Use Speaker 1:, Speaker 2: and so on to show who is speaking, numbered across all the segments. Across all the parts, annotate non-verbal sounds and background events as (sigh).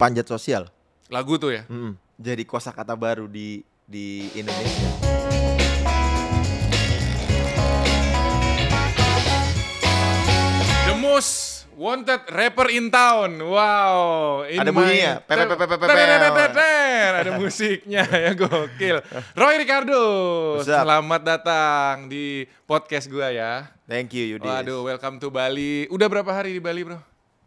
Speaker 1: panjat sosial.
Speaker 2: Lagu tuh ya.
Speaker 1: Mm-mm. Jadi kosakata baru di di Indonesia.
Speaker 2: The most wanted rapper in town. Wow. In
Speaker 1: Ada
Speaker 2: my-
Speaker 1: bunyinya. Pe- pe- pe- pe- pe- pe-
Speaker 2: Tererererer. Ada musiknya (laughs) ya
Speaker 1: (laughs)
Speaker 2: gokil. Roy Ricardo,
Speaker 1: What's up?
Speaker 2: selamat datang di podcast gua ya.
Speaker 1: Thank you Yudi.
Speaker 2: Waduh, welcome to Bali. Udah berapa hari di Bali, Bro?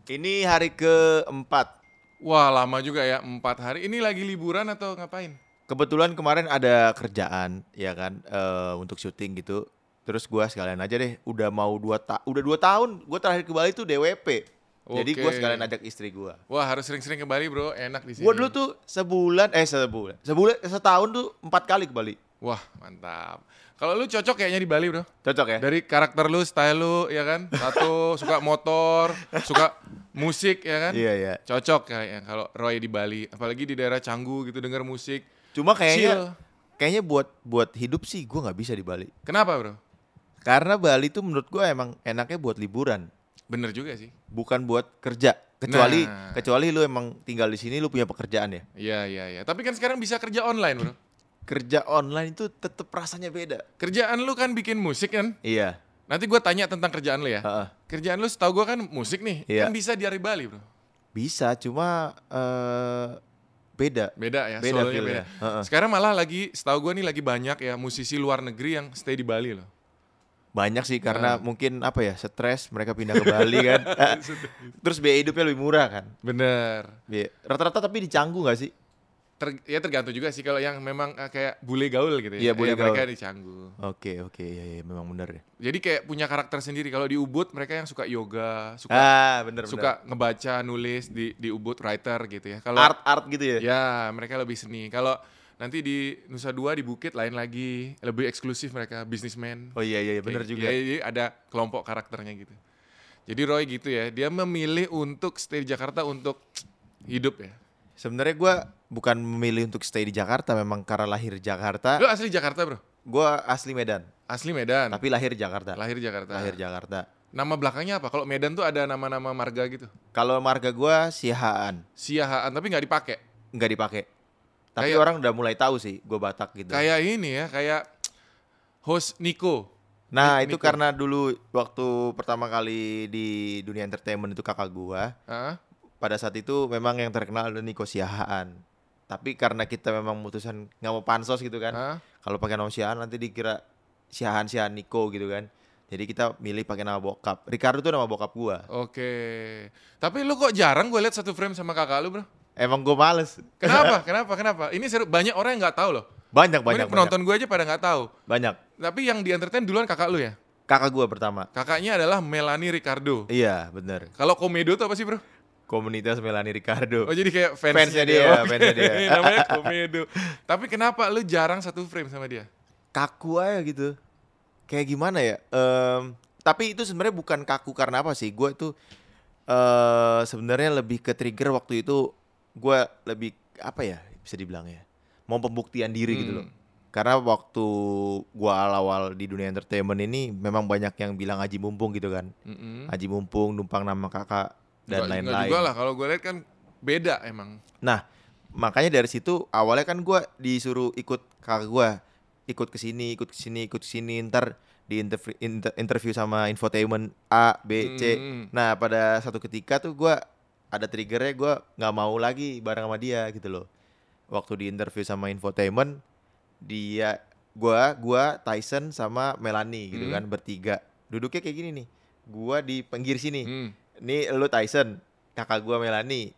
Speaker 1: Ini hari keempat.
Speaker 2: Wah, lama juga ya, empat hari. Ini lagi liburan atau ngapain?
Speaker 1: Kebetulan kemarin ada kerjaan ya kan eh, untuk syuting gitu. Terus gua sekalian aja deh udah mau dua ta udah dua tahun gue terakhir ke Bali tuh DWP. Jadi
Speaker 2: Oke.
Speaker 1: gua sekalian ajak istri gua.
Speaker 2: Wah, harus sering-sering ke Bali, Bro. Enak di sini.
Speaker 1: Gua dulu tuh sebulan eh sebulan sebulan setahun tuh empat kali ke Bali.
Speaker 2: Wah, mantap. Kalau lu cocok kayaknya di Bali, Bro.
Speaker 1: Cocok ya?
Speaker 2: Dari karakter lu, style lu, ya kan?
Speaker 1: (laughs)
Speaker 2: Satu, suka motor, suka musik, ya kan?
Speaker 1: Iya iya.
Speaker 2: Cocok kayaknya kalau Roy di Bali. Apalagi di daerah Canggu gitu, denger musik.
Speaker 1: Cuma kayaknya
Speaker 2: Chill.
Speaker 1: kayaknya buat buat hidup sih gua nggak bisa di Bali.
Speaker 2: Kenapa, Bro?
Speaker 1: Karena Bali tuh menurut gua emang enaknya buat liburan,
Speaker 2: Bener juga sih.
Speaker 1: bukan buat kerja. Kecuali
Speaker 2: Nah.
Speaker 1: kecuali lu emang tinggal di sini lu punya pekerjaan ya.
Speaker 2: Iya, iya, iya. Tapi kan sekarang bisa kerja online, Bro.
Speaker 1: Kerja online itu tetap rasanya beda.
Speaker 2: Kerjaan lu kan bikin musik kan?
Speaker 1: Iya.
Speaker 2: Nanti gue tanya tentang kerjaan lu ya.
Speaker 1: Heeh.
Speaker 2: Kerjaan lu setahu gue kan musik nih.
Speaker 1: Ah. Iya.
Speaker 2: Kan bisa di hari Bali bro.
Speaker 1: Bisa, cuma eh beda.
Speaker 2: Beda ya,
Speaker 1: Beda
Speaker 2: solonya
Speaker 1: feel-nya.
Speaker 2: beda.
Speaker 1: Heeh.
Speaker 2: Sekarang malah lagi setahu gue nih lagi banyak ya musisi luar negeri yang stay di Bali loh.
Speaker 1: Banyak sih karena mungkin apa ya, stres mereka pindah ke Bali (laughs) kan. Eh, Terus biaya hidupnya lebih murah kan.
Speaker 2: Bener.
Speaker 1: Biaya- Rata-rata tapi di Canggu gak sih?
Speaker 2: Ter- ya tergantung juga sih kalau yang memang eh, kayak bule gaul gitu ya.
Speaker 1: Iya, bule
Speaker 2: Ya, mereka
Speaker 1: gaul.
Speaker 2: di Canggu.
Speaker 1: Oke, oke, iya, iya, memang bener ya.
Speaker 2: Jadi kayak punya karakter sendiri. Kalau di Ubud mereka yang suka yoga, suka
Speaker 1: Ah, bener, bener.
Speaker 2: suka ngebaca, nulis di di Ubud writer gitu ya. Kalau
Speaker 1: art art gitu ya.
Speaker 2: Ya, mereka lebih seni. Kalau nanti di Nusa Dua di Bukit lain lagi, lebih eksklusif mereka bisnismen.
Speaker 1: Oh iya iya iya, bener
Speaker 2: Kayak-
Speaker 1: juga.
Speaker 2: ya, jadi ada kelompok karakternya gitu. Jadi Roy gitu ya, dia memilih untuk stay di Jakarta untuk hidup ya.
Speaker 1: Sebenarnya gua bukan memilih untuk stay di Jakarta, memang karena lahir di Jakarta.
Speaker 2: Lu asli Jakarta, Bro?
Speaker 1: Gua asli Medan,
Speaker 2: Asli Medan.
Speaker 1: tapi lahir di Jakarta.
Speaker 2: lahir Jakarta.
Speaker 1: Lahir Jakarta.
Speaker 2: Nama belakangnya apa? Kalau Medan tuh ada nama-nama marga gitu.
Speaker 1: Kalau marga gua Sihaan,
Speaker 2: Siahaan tapi nggak dipakai.
Speaker 1: nggak dipakai. Tapi
Speaker 2: Kayak-
Speaker 1: orang udah mulai tahu sih gua Batak gitu.
Speaker 2: Kayak ini ya, kayak host Niko.
Speaker 1: nah,
Speaker 2: Ni-
Speaker 1: itu
Speaker 2: Niko.
Speaker 1: karena dulu waktu pertama kali di dunia entertainment itu kakak gua,
Speaker 2: Heeh.
Speaker 1: pada saat itu memang yang terkenal adalah Niko Sihaan. Tapi karena kita memang mutusan nggak mau pansos gitu kan.
Speaker 2: Heeh.
Speaker 1: kalau pakai nama Siahan nanti dikira Siahan Siahan Niko gitu kan jadi kita milih pakai nama bokap Ricardo tuh nama bokap gua
Speaker 2: Oke. Tapi lu kok jarang gue lihat satu frame sama kakak lu, Bro?
Speaker 1: emang gua males
Speaker 2: Kenapa? kenapa? Kenapa? Ini seru. Banyak orang yang nggak tahu loh.
Speaker 1: (laughs) banyak banyak
Speaker 2: Banyak penonton gue aja pada nggak tahu.
Speaker 1: banyak, banyak.
Speaker 2: Tapi yang di entertain duluan kakak lu ya?
Speaker 1: kakak gua pertama
Speaker 2: Kakaknya adalah Melanie Ricardo.
Speaker 1: iya bener
Speaker 2: Kalau komedo tuh apa sih, Bro?
Speaker 1: komunitas Melani Ricardo
Speaker 2: Oh, jadi kayak
Speaker 1: Fansnya
Speaker 2: fansnya,
Speaker 1: dia,
Speaker 2: Oke.
Speaker 1: fansnya dia.
Speaker 2: iya,
Speaker 1: (laughs)
Speaker 2: Namanya komedo. Tapi kenapa lu jarang satu frame sama dia?
Speaker 1: kaku aja gitu kayak gimana ya Em, tapi itu sebenarnya bukan kaku karena apa sih gua itu eh sebenarnya lebih ke trigger waktu itu gua lebih apa ya bisa dibilang ya mau pembuktian diri gitu
Speaker 2: Hmm.
Speaker 1: loh Karena waktu gua awal-awal di dunia entertainment ini memang banyak yang bilang Haji Mumpung gitu kan.
Speaker 2: Hmm. Mm-mm.
Speaker 1: Haji Mumpung numpang nama kakak dan
Speaker 2: Nggak- nggak
Speaker 1: lain-lain.
Speaker 2: juga lah kalau gue lihat kan beda emang.
Speaker 1: Nah, makanya dari situ awalnya kan gua disuruh ikut kakak gua ikut ke sini, ikut ke sini, ikut ke sini ntar di interv- inter- interview sama infotainment A, B, C.
Speaker 2: Mm.
Speaker 1: Nah, pada satu ketika tuh gua ada triggernya gua nggak mau lagi bareng sama dia gitu loh. Waktu di interview sama infotainment dia gua gua Tyson sama Melanie gitu
Speaker 2: Hmm.
Speaker 1: kan bertiga. Duduknya kayak gini nih. Gua di pinggir sini.
Speaker 2: Mm.
Speaker 1: Nih lu Tyson, kakak gua Melanie.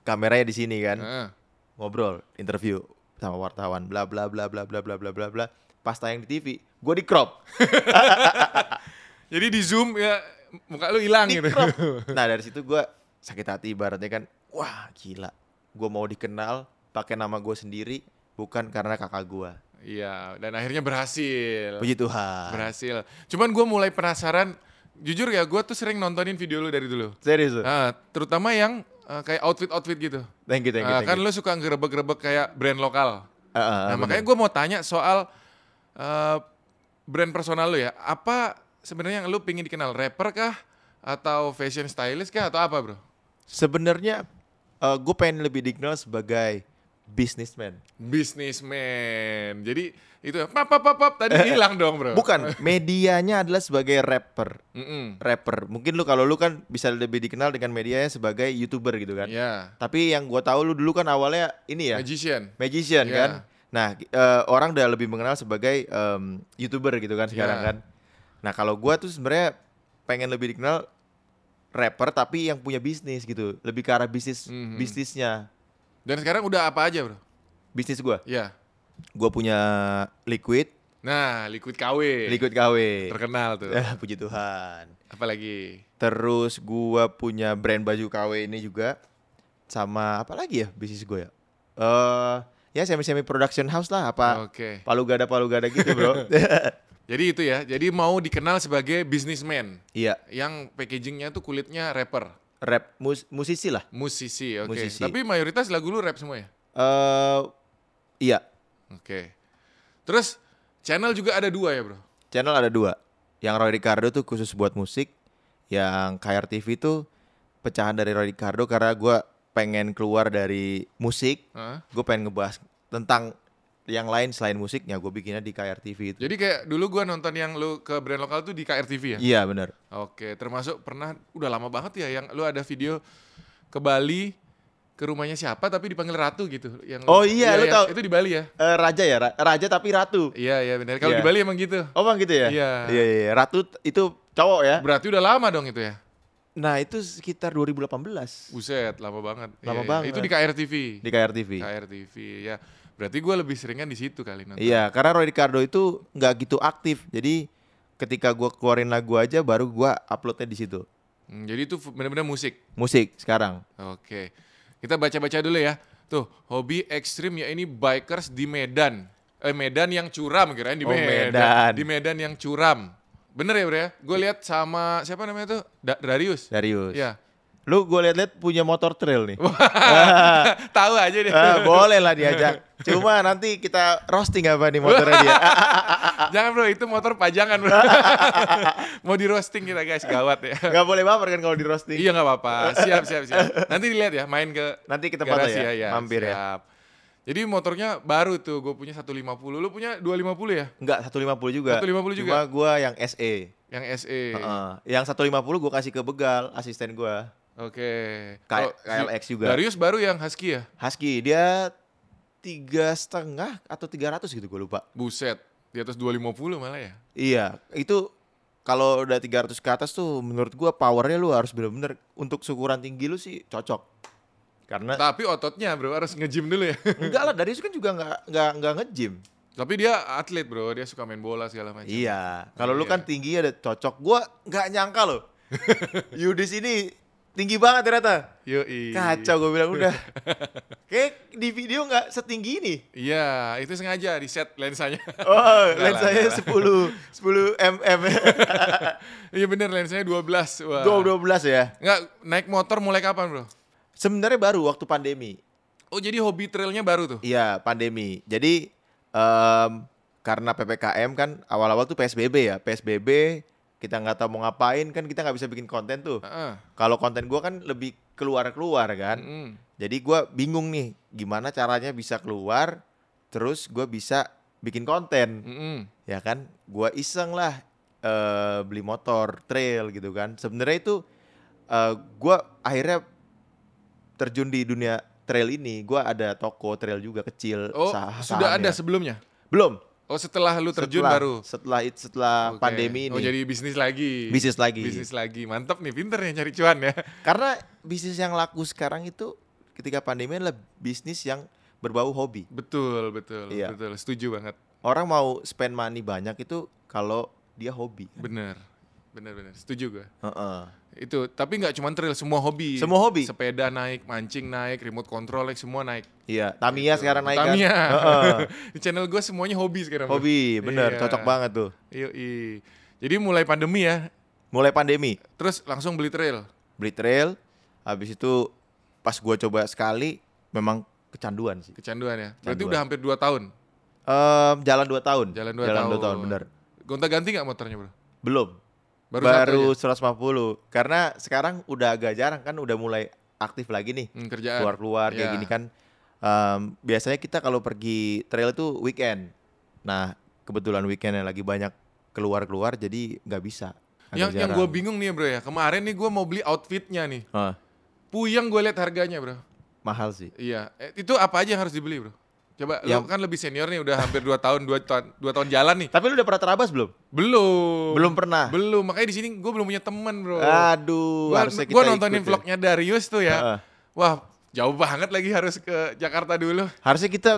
Speaker 1: Kameranya di sini kan
Speaker 2: Heeh.
Speaker 1: ngobrol, interview sama wartawan, bla bla bla bla bla bla bla bla bla. Pas tayang di TV, gue di crop,
Speaker 2: Jadi di Zoom ya muka lu hilang
Speaker 1: di
Speaker 2: gitu.
Speaker 1: crop. Nah dari situ gue sakit hati ibaratnya kan, wah gila, gue mau dikenal pakai nama gue sendiri, bukan karena kakak gue.
Speaker 2: (laughs) Iya, dan akhirnya berhasil.
Speaker 1: Puji Tuhan.
Speaker 2: Berhasil. Cuman gue mulai penasaran. Jujur ya, gue tuh sering nontonin video lu dari dulu.
Speaker 1: Serius, lu?
Speaker 2: Nah, terutama yang eh, kayak outfit-outfit gitu.
Speaker 1: thank you thank you.
Speaker 2: Ah,
Speaker 1: thank
Speaker 2: kan
Speaker 1: you.
Speaker 2: lu suka ngerebek-rebek kayak brand lokal.
Speaker 1: Ah, ah, ah,
Speaker 2: nah, makanya gue mau tanya soal eh, brand personal lu ya. Apa sebenarnya yang lu pingin dikenal? Rapper kah? Atau fashion stylist kah? Atau apa bro?
Speaker 1: Sebenarnya gue pengen lebih dikenal sebagai businessman.
Speaker 2: Businessman. Jadi itu pap pap pap, pap tadi hilang dong, Bro. (laughs)
Speaker 1: Bukan, medianya adalah sebagai rapper.
Speaker 2: Mm-mm.
Speaker 1: Rapper. Mungkin lu kalau lu kan bisa lebih dikenal dengan medianya sebagai YouTuber gitu kan.
Speaker 2: Ya.
Speaker 1: Tapi yang gue tahu lu dulu kan awalnya ini ya,
Speaker 2: Magician.
Speaker 1: magician
Speaker 2: Iya.
Speaker 1: kan. Nah, ki- eh, orang udah lebih mengenal sebagai em, YouTuber gitu kan sekarang
Speaker 2: Iya.
Speaker 1: kan. Nah, kalau gua tuh sebenarnya pengen lebih dikenal rapper tapi yang punya bisnis gitu, lebih ke arah bisnis
Speaker 2: Mhm.
Speaker 1: bisnisnya.
Speaker 2: Dan sekarang udah apa aja, Bro?
Speaker 1: Bisnis gua.
Speaker 2: Ya.
Speaker 1: Gua punya Liquid,
Speaker 2: Nah, Liquid KW.
Speaker 1: Liquid KW.
Speaker 2: Terkenal tuh.
Speaker 1: Ya, (laughs) puji Tuhan.
Speaker 2: Apalagi?
Speaker 1: Terus gua punya brand baju KW ini juga sama apa lagi ya bisnis gua ya? Eh ya semi-semi production house lah apa
Speaker 2: Oke.
Speaker 1: palu gada palu gada gitu,
Speaker 2: (laughs)
Speaker 1: Bro.
Speaker 2: Jadi itu ya. Jadi mau dikenal sebagai businessman
Speaker 1: Iya,
Speaker 2: yang packagingnya tuh kulitnya rapper,
Speaker 1: rap mus- musisi lah.
Speaker 2: musisi. Oke.
Speaker 1: Musisi.
Speaker 2: Tapi mayoritas lagu lu rap semua ya?
Speaker 1: eh iya,
Speaker 2: Oke. Terus channel juga ada dua ya, Bro?
Speaker 1: channel ada dua. Yang Roy Ricardo tuh khusus buat musik. Yang KR TV tuh pecahan dari Roy Ricardo karena gua pengen keluar dari musik.
Speaker 2: Hah?
Speaker 1: Gue pengen ngebahas tentang yang lain selain musiknya. Gue bikinnya di KR TV itu.
Speaker 2: Jadi kayak dulu gua nonton yang lu ke brand lokal tuh di KRTV ya?
Speaker 1: Iya bener.
Speaker 2: Oke, termasuk pernah udah lama banget ya yang lu ada video ke Bali ke rumahnya siapa tapi dipanggil ratu gitu yang
Speaker 1: Oh iya, lu
Speaker 2: ya,
Speaker 1: tahu.
Speaker 2: itu di Bali ya
Speaker 1: Eh, raja ya, Ra- raja tapi ratu.
Speaker 2: iya iya benar kalau
Speaker 1: Iya.
Speaker 2: di Bali emang gitu
Speaker 1: Oh bang gitu ya?
Speaker 2: Iya.
Speaker 1: Iya, iya. ratu t- itu cowok ya.
Speaker 2: berarti udah lama dong itu ya
Speaker 1: Nah itu sekitar 2018
Speaker 2: buset lama banget Iya,
Speaker 1: Lama
Speaker 2: iya.
Speaker 1: banget.
Speaker 2: itu di KRTV
Speaker 1: di KR TV.
Speaker 2: KRTV ya berarti gua lebih seringan di situ kali nonton
Speaker 1: Iya, karena Roy Ricardo itu nggak gitu aktif. Jadi ketika gua keluarin lagu aja baru gua uploadnya di situ.
Speaker 2: Hmm, jadi itu benar-benar musik
Speaker 1: Musik sekarang.
Speaker 2: oke kita baca-baca dulu ya tuh hobi ekstrim ya ini bikers di Medan eh Medan yang curam kirain di
Speaker 1: Oh,
Speaker 2: Medan.
Speaker 1: Medan.
Speaker 2: di Medan yang curam bener ya bro ya gue lihat sama siapa namanya tuh Da- Darius
Speaker 1: Serius.
Speaker 2: ya
Speaker 1: Lu gua liat-liat punya motor trail
Speaker 2: (laughs)
Speaker 1: nih.
Speaker 2: tahu aja deh
Speaker 1: Ah, boleh lah diajak. Cuma nanti kita roasting apa nih motornya
Speaker 2: (laughs)
Speaker 1: dia. Ah,
Speaker 2: jangan bro itu motor pajangan
Speaker 1: (laughs)
Speaker 2: bro mau di roasting kita guys gawat ya
Speaker 1: Nggak boleh baper kan kalau di roasting.
Speaker 2: Iya nggak apa-apa. Siap siap siap. Nanti dilihat ya main ke
Speaker 1: Nanti ke tempatnya
Speaker 2: garasi Iya,
Speaker 1: ya, mampir ya.
Speaker 2: siap. Jadi motornya baru tuh, gue punya 150, lu punya 250 ya?
Speaker 1: Enggak, 150 juga.
Speaker 2: 150 juga.
Speaker 1: Cuma gua yang SE.
Speaker 2: Yang E. SE.
Speaker 1: Heeh. Yang 150 gua kasih ke begal asisten gua.
Speaker 2: Oke.
Speaker 1: K-
Speaker 2: Kalau
Speaker 1: KLX
Speaker 2: si-
Speaker 1: juga.
Speaker 2: Darius baru yang Husky ya?
Speaker 1: Husky dia tiga setengah atau 300 gitu gua lupa.
Speaker 2: Buset, di atas 250 malah ya.
Speaker 1: Iya, itu kalau udah 300 ke atas tuh menurut gua powernya lu harus bener-bener untuk syukuran tinggi lu sih cocok. Karena
Speaker 2: Tapi ototnya bro harus nge-gym dulu ya. (laughs)
Speaker 1: enggak lah dari itu kan juga nggak nggak nggak nge-gym.
Speaker 2: Tapi dia atlet bro, dia suka main bola segala macam.
Speaker 1: Iya, kalau lu
Speaker 2: Iya.
Speaker 1: kan tinggi ada cocok. Gua nggak nyangka (laughs) loh. Yudis ini tinggi banget ternyata.
Speaker 2: Yoi.
Speaker 1: Kacau gue bilang (laughs) udah. Kayak di video nggak setinggi ini.
Speaker 2: Iya, itu sengaja di set lensanya.
Speaker 1: Oh,
Speaker 2: (laughs) Nggak lah,
Speaker 1: lensanya
Speaker 2: nggak lah.
Speaker 1: 10 10 (laughs) mm.
Speaker 2: Iya bener lensanya 12. Wah.
Speaker 1: 12 ya.
Speaker 2: Nggak, naik motor mulai kapan bro?
Speaker 1: Sebenarnya baru waktu pandemi.
Speaker 2: Oh jadi hobi trailnya baru tuh?
Speaker 1: Iya pandemi. Jadi em, karena ppkm kan awal-awal tuh psbb ya psbb kita nggak tahu mau ngapain kan kita nggak bisa bikin konten tuh.
Speaker 2: Heeh.
Speaker 1: Kalau konten gua kan lebih keluar-keluar Iya. kan.
Speaker 2: Mm-mm.
Speaker 1: Jadi gua bingung nih gimana caranya bisa keluar. Terus gua bisa bikin konten
Speaker 2: Mm-mm.
Speaker 1: ya kan. Gua iseng lah eh, beli motor trail gitu kan. Sebenarnya itu eh, gua akhirnya terjun di dunia trail ini. Gua ada toko trail juga kecil.
Speaker 2: Oh
Speaker 1: sah-
Speaker 2: sudah ada
Speaker 1: sahamnya.
Speaker 2: sebelumnya?
Speaker 1: Belum.
Speaker 2: Oh setelah lu terjun
Speaker 1: setelah,
Speaker 2: baru?
Speaker 1: Setelah it- setelah
Speaker 2: Oke.
Speaker 1: pandemi ini.
Speaker 2: Oh jadi bisnis lagi?
Speaker 1: Bisnis lagi.
Speaker 2: Bisnis lagi, mantap nih pinter ya nyari cuan ya.
Speaker 1: Karena bisnis yang laku sekarang itu ketika pandemi adalah bisnis yang berbau hobi.
Speaker 2: (laughs) Betul, betul,
Speaker 1: Iya.
Speaker 2: betul, setuju banget.
Speaker 1: Orang mau spend money banyak itu kalau dia hobi.
Speaker 2: Bener, bener, bener, setuju gue.
Speaker 1: Heeh.
Speaker 2: Itu, tapi nggak cuma trail, semua hobi.
Speaker 1: Semua hobi?
Speaker 2: Sepeda naik, mancing naik, remote control naik, semua naik.
Speaker 1: Iya, Tamiya sekarang naik kan.
Speaker 2: Gitu. Tamiya.
Speaker 1: (laughs) Heeh.
Speaker 2: Di (laughs) channel gue semuanya hobi sekarang. bro.
Speaker 1: Hobi, bener,
Speaker 2: Iya.
Speaker 1: cocok banget tuh.
Speaker 2: Yoi. Jadi mulai pandemi ya,
Speaker 1: Mulai pandemi,
Speaker 2: terus langsung beli trail.
Speaker 1: beli trail, habis itu pas gua coba sekali memang kecanduan sih.
Speaker 2: Kecanduan ya. Berarti
Speaker 1: Kecanduan.
Speaker 2: udah hampir 2 tahun.
Speaker 1: Em, jalan 2 tahun.
Speaker 2: Jalan 2
Speaker 1: jalan
Speaker 2: tahun.
Speaker 1: dua tahun, bener.
Speaker 2: Gonta-ganti nggak motornya, Bro?
Speaker 1: Belum.
Speaker 2: Baru
Speaker 1: Baru,
Speaker 2: satu
Speaker 1: 150. Karena sekarang udah agak jarang kan udah mulai aktif lagi nih
Speaker 2: Hmm, kerjaan.
Speaker 1: keluar-keluar kayak
Speaker 2: Ya.
Speaker 1: gini kan Em, biasanya kita kalau pergi trail tuh weekend nah kebetulan weekend yang lagi banyak keluar-keluar jadi nggak bisa Agak
Speaker 2: Yang yang gue
Speaker 1: jarang.
Speaker 2: bingung nih bro ya. Kemarin nih gue mau beli outfitnya nih.
Speaker 1: Hah,
Speaker 2: Puyeng gue lihat harganya bro.
Speaker 1: mahal sih
Speaker 2: Iya. Eh, itu apa aja yang harus dibeli bro? Coba
Speaker 1: Yang-
Speaker 2: lu kan lebih senior nih udah hampir 2 tahun 2 tahun 2 tahun jalan nih.
Speaker 1: tapi lu udah pernah terabas belum
Speaker 2: Belum.
Speaker 1: belum pernah
Speaker 2: Belum. Makanya di sini gue belum punya temen bro.
Speaker 1: aduh
Speaker 2: Gua,
Speaker 1: harusnya kita
Speaker 2: gua
Speaker 1: ikut
Speaker 2: nontonin
Speaker 1: ya.
Speaker 2: vlognya Darius tuh ya.
Speaker 1: Heeh.
Speaker 2: Wah, jauh banget lagi harus ke Jakarta dulu.
Speaker 1: harusnya
Speaker 2: (laughs)
Speaker 1: kita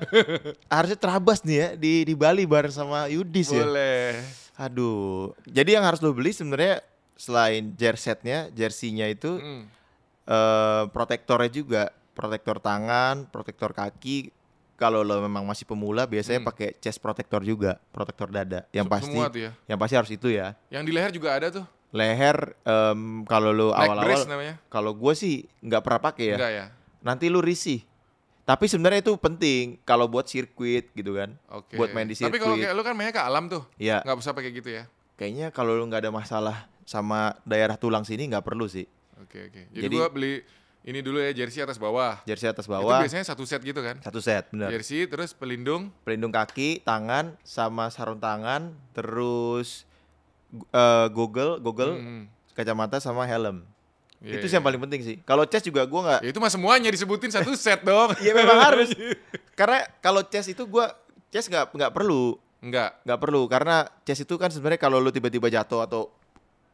Speaker 1: harusnya terabas nih ya di di Bali bareng sama Yudis ya
Speaker 2: Boleh.
Speaker 1: Aduh, jadi yang harus lo beli sebenarnya selain jersetnya, jersinya itu
Speaker 2: Mm.
Speaker 1: eh, protektornya juga, protektor tangan, protektor kaki. Kalau lo memang masih pemula, biasanya
Speaker 2: Hmm.
Speaker 1: pakai chest protector juga, protektor dada. Yang
Speaker 2: Se-
Speaker 1: pasti,
Speaker 2: Semua tuh ya.
Speaker 1: yang pasti harus itu ya.
Speaker 2: Yang di leher juga ada tuh.
Speaker 1: Leher, em, kalau lo
Speaker 2: Neck brace
Speaker 1: awal-awal,
Speaker 2: namanya.
Speaker 1: kalau gue sih nggak pernah pakai ya.
Speaker 2: Enggak ya.
Speaker 1: Nanti lo risih. Tapi sebenarnya itu penting kalau buat sirkuit gitu kan,
Speaker 2: Oke.
Speaker 1: buat main di
Speaker 2: Tapi
Speaker 1: sirkuit.
Speaker 2: kalau kayak lu kan mainnya ke alam tuh.
Speaker 1: ya.
Speaker 2: Enggak usah pakai gitu ya.
Speaker 1: kayaknya kalau lu nggak ada masalah sama daerah tulang sini nggak perlu sih
Speaker 2: Oke, oke. Jadi,
Speaker 1: Jadi-
Speaker 2: gua beli ini dulu ya jersey atas bawah.
Speaker 1: jersey atas
Speaker 2: Itu
Speaker 1: bawah
Speaker 2: biasanya satu set gitu kan.
Speaker 1: satu set bener
Speaker 2: Jersey terus pelindung.
Speaker 1: pelindung kaki tangan sama sarung tangan terus gu- eh, goggle goggle
Speaker 2: Hmm,
Speaker 1: kacamata sama helm
Speaker 2: iya,
Speaker 1: itu
Speaker 2: iya.
Speaker 1: sih yang paling penting sih kalau chest juga gua nggak
Speaker 2: Ya itu mah semuanya disebutin satu set dong.
Speaker 1: ya memang
Speaker 2: (laughs)
Speaker 1: harus karena kalau chest itu gua chest nggak nggak perlu
Speaker 2: Enggak.
Speaker 1: nggak perlu karena chest itu kan sebenarnya kalau lu tiba-tiba jatuh atau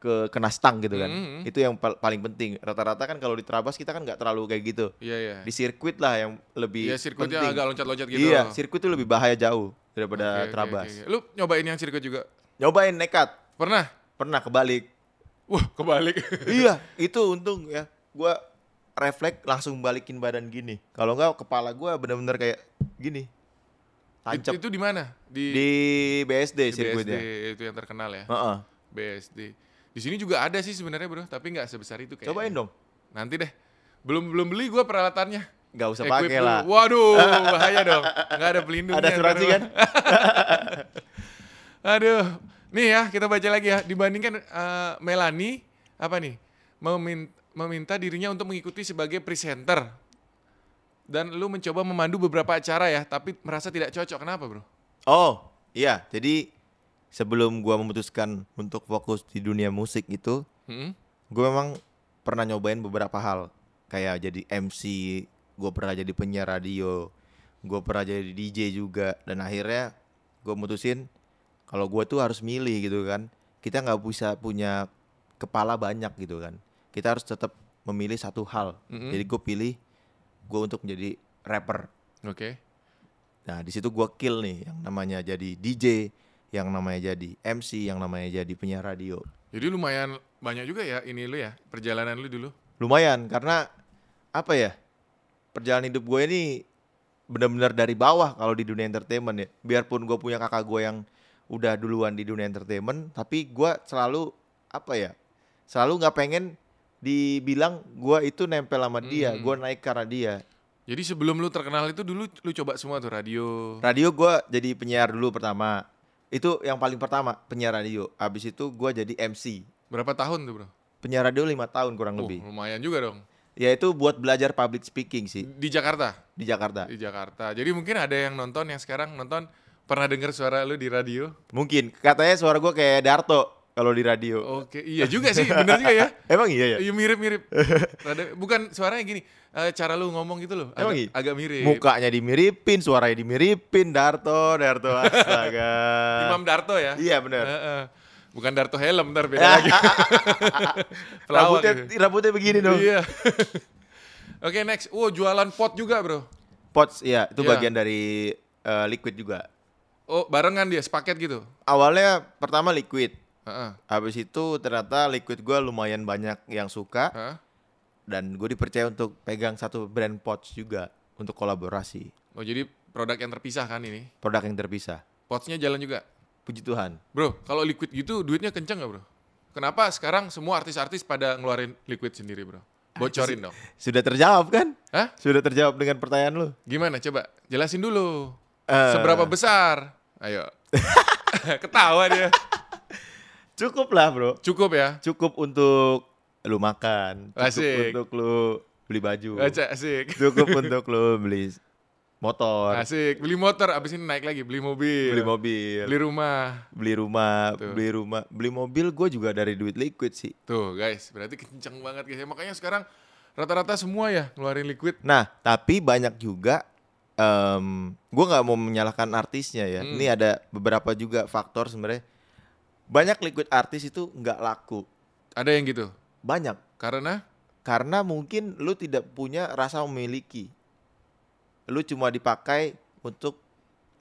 Speaker 1: ke kena stang gitu kan
Speaker 2: Mm.
Speaker 1: itu yang pal- paling penting rata-rata kan kalau di terabas kita kan nggak terlalu kayak gitu
Speaker 2: Iya, iya.
Speaker 1: di sirkuit lah yang lebih
Speaker 2: Iya, sirkuitnya
Speaker 1: penting.
Speaker 2: agak loncat-loncat gitu.
Speaker 1: Iya, sirkuit eh, itu lebih bahaya jauh daripada
Speaker 2: Oke, oke,
Speaker 1: terabas.
Speaker 2: oke, oke. Lu nyobain yang sirkuit juga?
Speaker 1: Nyobain nekat,
Speaker 2: Pernah?
Speaker 1: pernah
Speaker 2: (laughs)
Speaker 1: kebalik.
Speaker 2: Wah, kebalik.
Speaker 1: iya, itu untung ya. Gua refleks langsung balikin badan gini. Kalau enggak kepala gua bener-bener kayak gini.
Speaker 2: Itu,
Speaker 1: Tancap
Speaker 2: itu di mana? Di,
Speaker 1: di BSD
Speaker 2: di
Speaker 1: sirkuitnya.
Speaker 2: BSD itu yang terkenal ya.
Speaker 1: Heeh.
Speaker 2: BSD. Di sini juga ada sih sebenarnya, Bro, tapi nggak sebesar itu kayaknya.
Speaker 1: Cobain dong.
Speaker 2: Nanti deh. Belum belum beli gua peralatannya.
Speaker 1: Gak usah
Speaker 2: Equip
Speaker 1: pakai
Speaker 2: dulu.
Speaker 1: lah. (laughs)
Speaker 2: Waduh, bahaya dong. Nggak ada pelindungnya.
Speaker 1: Ada asuransi
Speaker 2: ntar (laughs)
Speaker 1: kan?
Speaker 2: mah. Aduh. Nih ya, kita baca lagi ya. Dibandingkan eh, Melanie, apa nih? Memin- meminta dirinya untuk mengikuti sebagai presenter. Dan lu mencoba memandu beberapa acara ya, tapi merasa tidak cocok. Kenapa, bro?
Speaker 1: Oh, iya. Jadi sebelum gua memutuskan untuk fokus di dunia musik itu,
Speaker 2: Hmm?
Speaker 1: gue memang pernah nyobain beberapa hal kayak jadi MC gue pernah jadi penyiar radio gue pernah jadi DJ juga dan akhirnya gue mutusin kalau gue tuh harus milih gitu kan kita nggak bisa punya kepala banyak gitu kan kita harus tetap memilih satu hal
Speaker 2: Mhm.
Speaker 1: jadi gue pilih gue untuk menjadi rapper
Speaker 2: Oke.
Speaker 1: Nah, di situ gua kill nih yang namanya jadi DJ, yang namanya jadi MC, yang namanya jadi penyiar radio.
Speaker 2: Jadi lumayan banyak juga ya ini lu ya, perjalanan lu dulu.
Speaker 1: Lumayan karena apa ya? Perjalanan hidup gue ini benar-benar dari bawah kalau di dunia entertainment ya. Biarpun gue punya kakak gue yang udah duluan di dunia entertainment, tapi gue selalu apa ya? Selalu nggak pengen dibilang gue itu nempel sama dia,
Speaker 2: Hmm.
Speaker 1: gue naik karena dia.
Speaker 2: Jadi sebelum lu terkenal itu dulu lu coba semua tuh radio.
Speaker 1: Radio gue jadi penyiar dulu pertama. Itu yang paling pertama penyiar radio. Abis itu gue jadi MC.
Speaker 2: Berapa tahun tuh, bro?
Speaker 1: Penyiar radio lima tahun kurang
Speaker 2: Oh,
Speaker 1: lebih.
Speaker 2: lumayan juga dong.
Speaker 1: Yaitu buat belajar public speaking sih
Speaker 2: Di Jakarta.
Speaker 1: di Jakarta.
Speaker 2: Di Jakarta. Jadi mungkin ada yang nonton yang sekarang nonton pernah dengar suara lu di radio.
Speaker 1: Mungkin katanya suara gue kayak Darto kalau di radio.
Speaker 2: Oke, iya juga sih, bener juga ya.
Speaker 1: Emang (laughs) iya ya?
Speaker 2: Iya mirip-mirip. Rada- Bukan suaranya gini, eh, cara lu ngomong gitu loh.
Speaker 1: Emang
Speaker 2: Agak,
Speaker 1: iya?
Speaker 2: agak mirip.
Speaker 1: Mukanya dimiripin, suaranya dimiripin, Darto,
Speaker 2: (laughs)
Speaker 1: Darto astaga.
Speaker 2: Imam Darto ya.
Speaker 1: Iya benar.
Speaker 2: Eh, eh. Bukan Darto helm ntar beda
Speaker 1: (laughs)
Speaker 2: lagi. (laughs) Pelawak
Speaker 1: Rambutnya,
Speaker 2: gitu.
Speaker 1: rambutnya begini dong.
Speaker 2: Iya. (laughs) Oke, next. Wow, jualan pot juga, Bro.
Speaker 1: Pots, iya itu
Speaker 2: Iya.
Speaker 1: bagian dari eh, liquid juga.
Speaker 2: Oh, barengan dia sepaket gitu.
Speaker 1: Awalnya pertama liquid,
Speaker 2: Heeh.
Speaker 1: Habis itu ternyata liquid gue lumayan banyak yang suka
Speaker 2: Heeh.
Speaker 1: dan gue dipercaya untuk pegang satu brand pouch juga untuk kolaborasi
Speaker 2: Oh, jadi produk yang terpisah kan ini.
Speaker 1: produk yang terpisah.
Speaker 2: Potsnya jalan juga.
Speaker 1: Puji Tuhan.
Speaker 2: Bro, kalau liquid gitu duitnya kenceng gak bro? Kenapa sekarang semua artis-artis pada ngeluarin liquid sendiri
Speaker 1: Ah,
Speaker 2: bro? Bocorin dong.
Speaker 1: Sudah terjawab kan?
Speaker 2: Hah?
Speaker 1: Sudah terjawab dengan pertanyaan lu.
Speaker 2: Gimana? Coba jelasin dulu.
Speaker 1: Eh.
Speaker 2: Seberapa besar? Ayo. (laughs) Ketawa dia.
Speaker 1: Cukup lah bro.
Speaker 2: Cukup ya.
Speaker 1: Cukup untuk lu makan. Cukup
Speaker 2: Asik.
Speaker 1: untuk lu beli baju.
Speaker 2: Aja, asik.
Speaker 1: Cukup untuk lo beli motor,
Speaker 2: Asik. Beli motor, abis ini naik lagi. Beli mobil.
Speaker 1: beli mobil,
Speaker 2: Beli rumah.
Speaker 1: beli rumah,
Speaker 2: Betul.
Speaker 1: beli rumah, beli mobil gue juga dari duit liquid sih.
Speaker 2: Tuh guys, berarti kenceng banget guys. Ya, Makanya sekarang rata-rata semua ya ngeluarin liquid.
Speaker 1: Nah, tapi banyak juga em gue nggak mau menyalahkan artisnya ya.
Speaker 2: Hmm.
Speaker 1: Ini ada beberapa juga faktor sebenarnya. Banyak liquid artis itu nggak laku.
Speaker 2: Ada yang gitu.
Speaker 1: Banyak
Speaker 2: Karena
Speaker 1: karena mungkin lu tidak punya rasa memiliki. Lu cuma dipakai untuk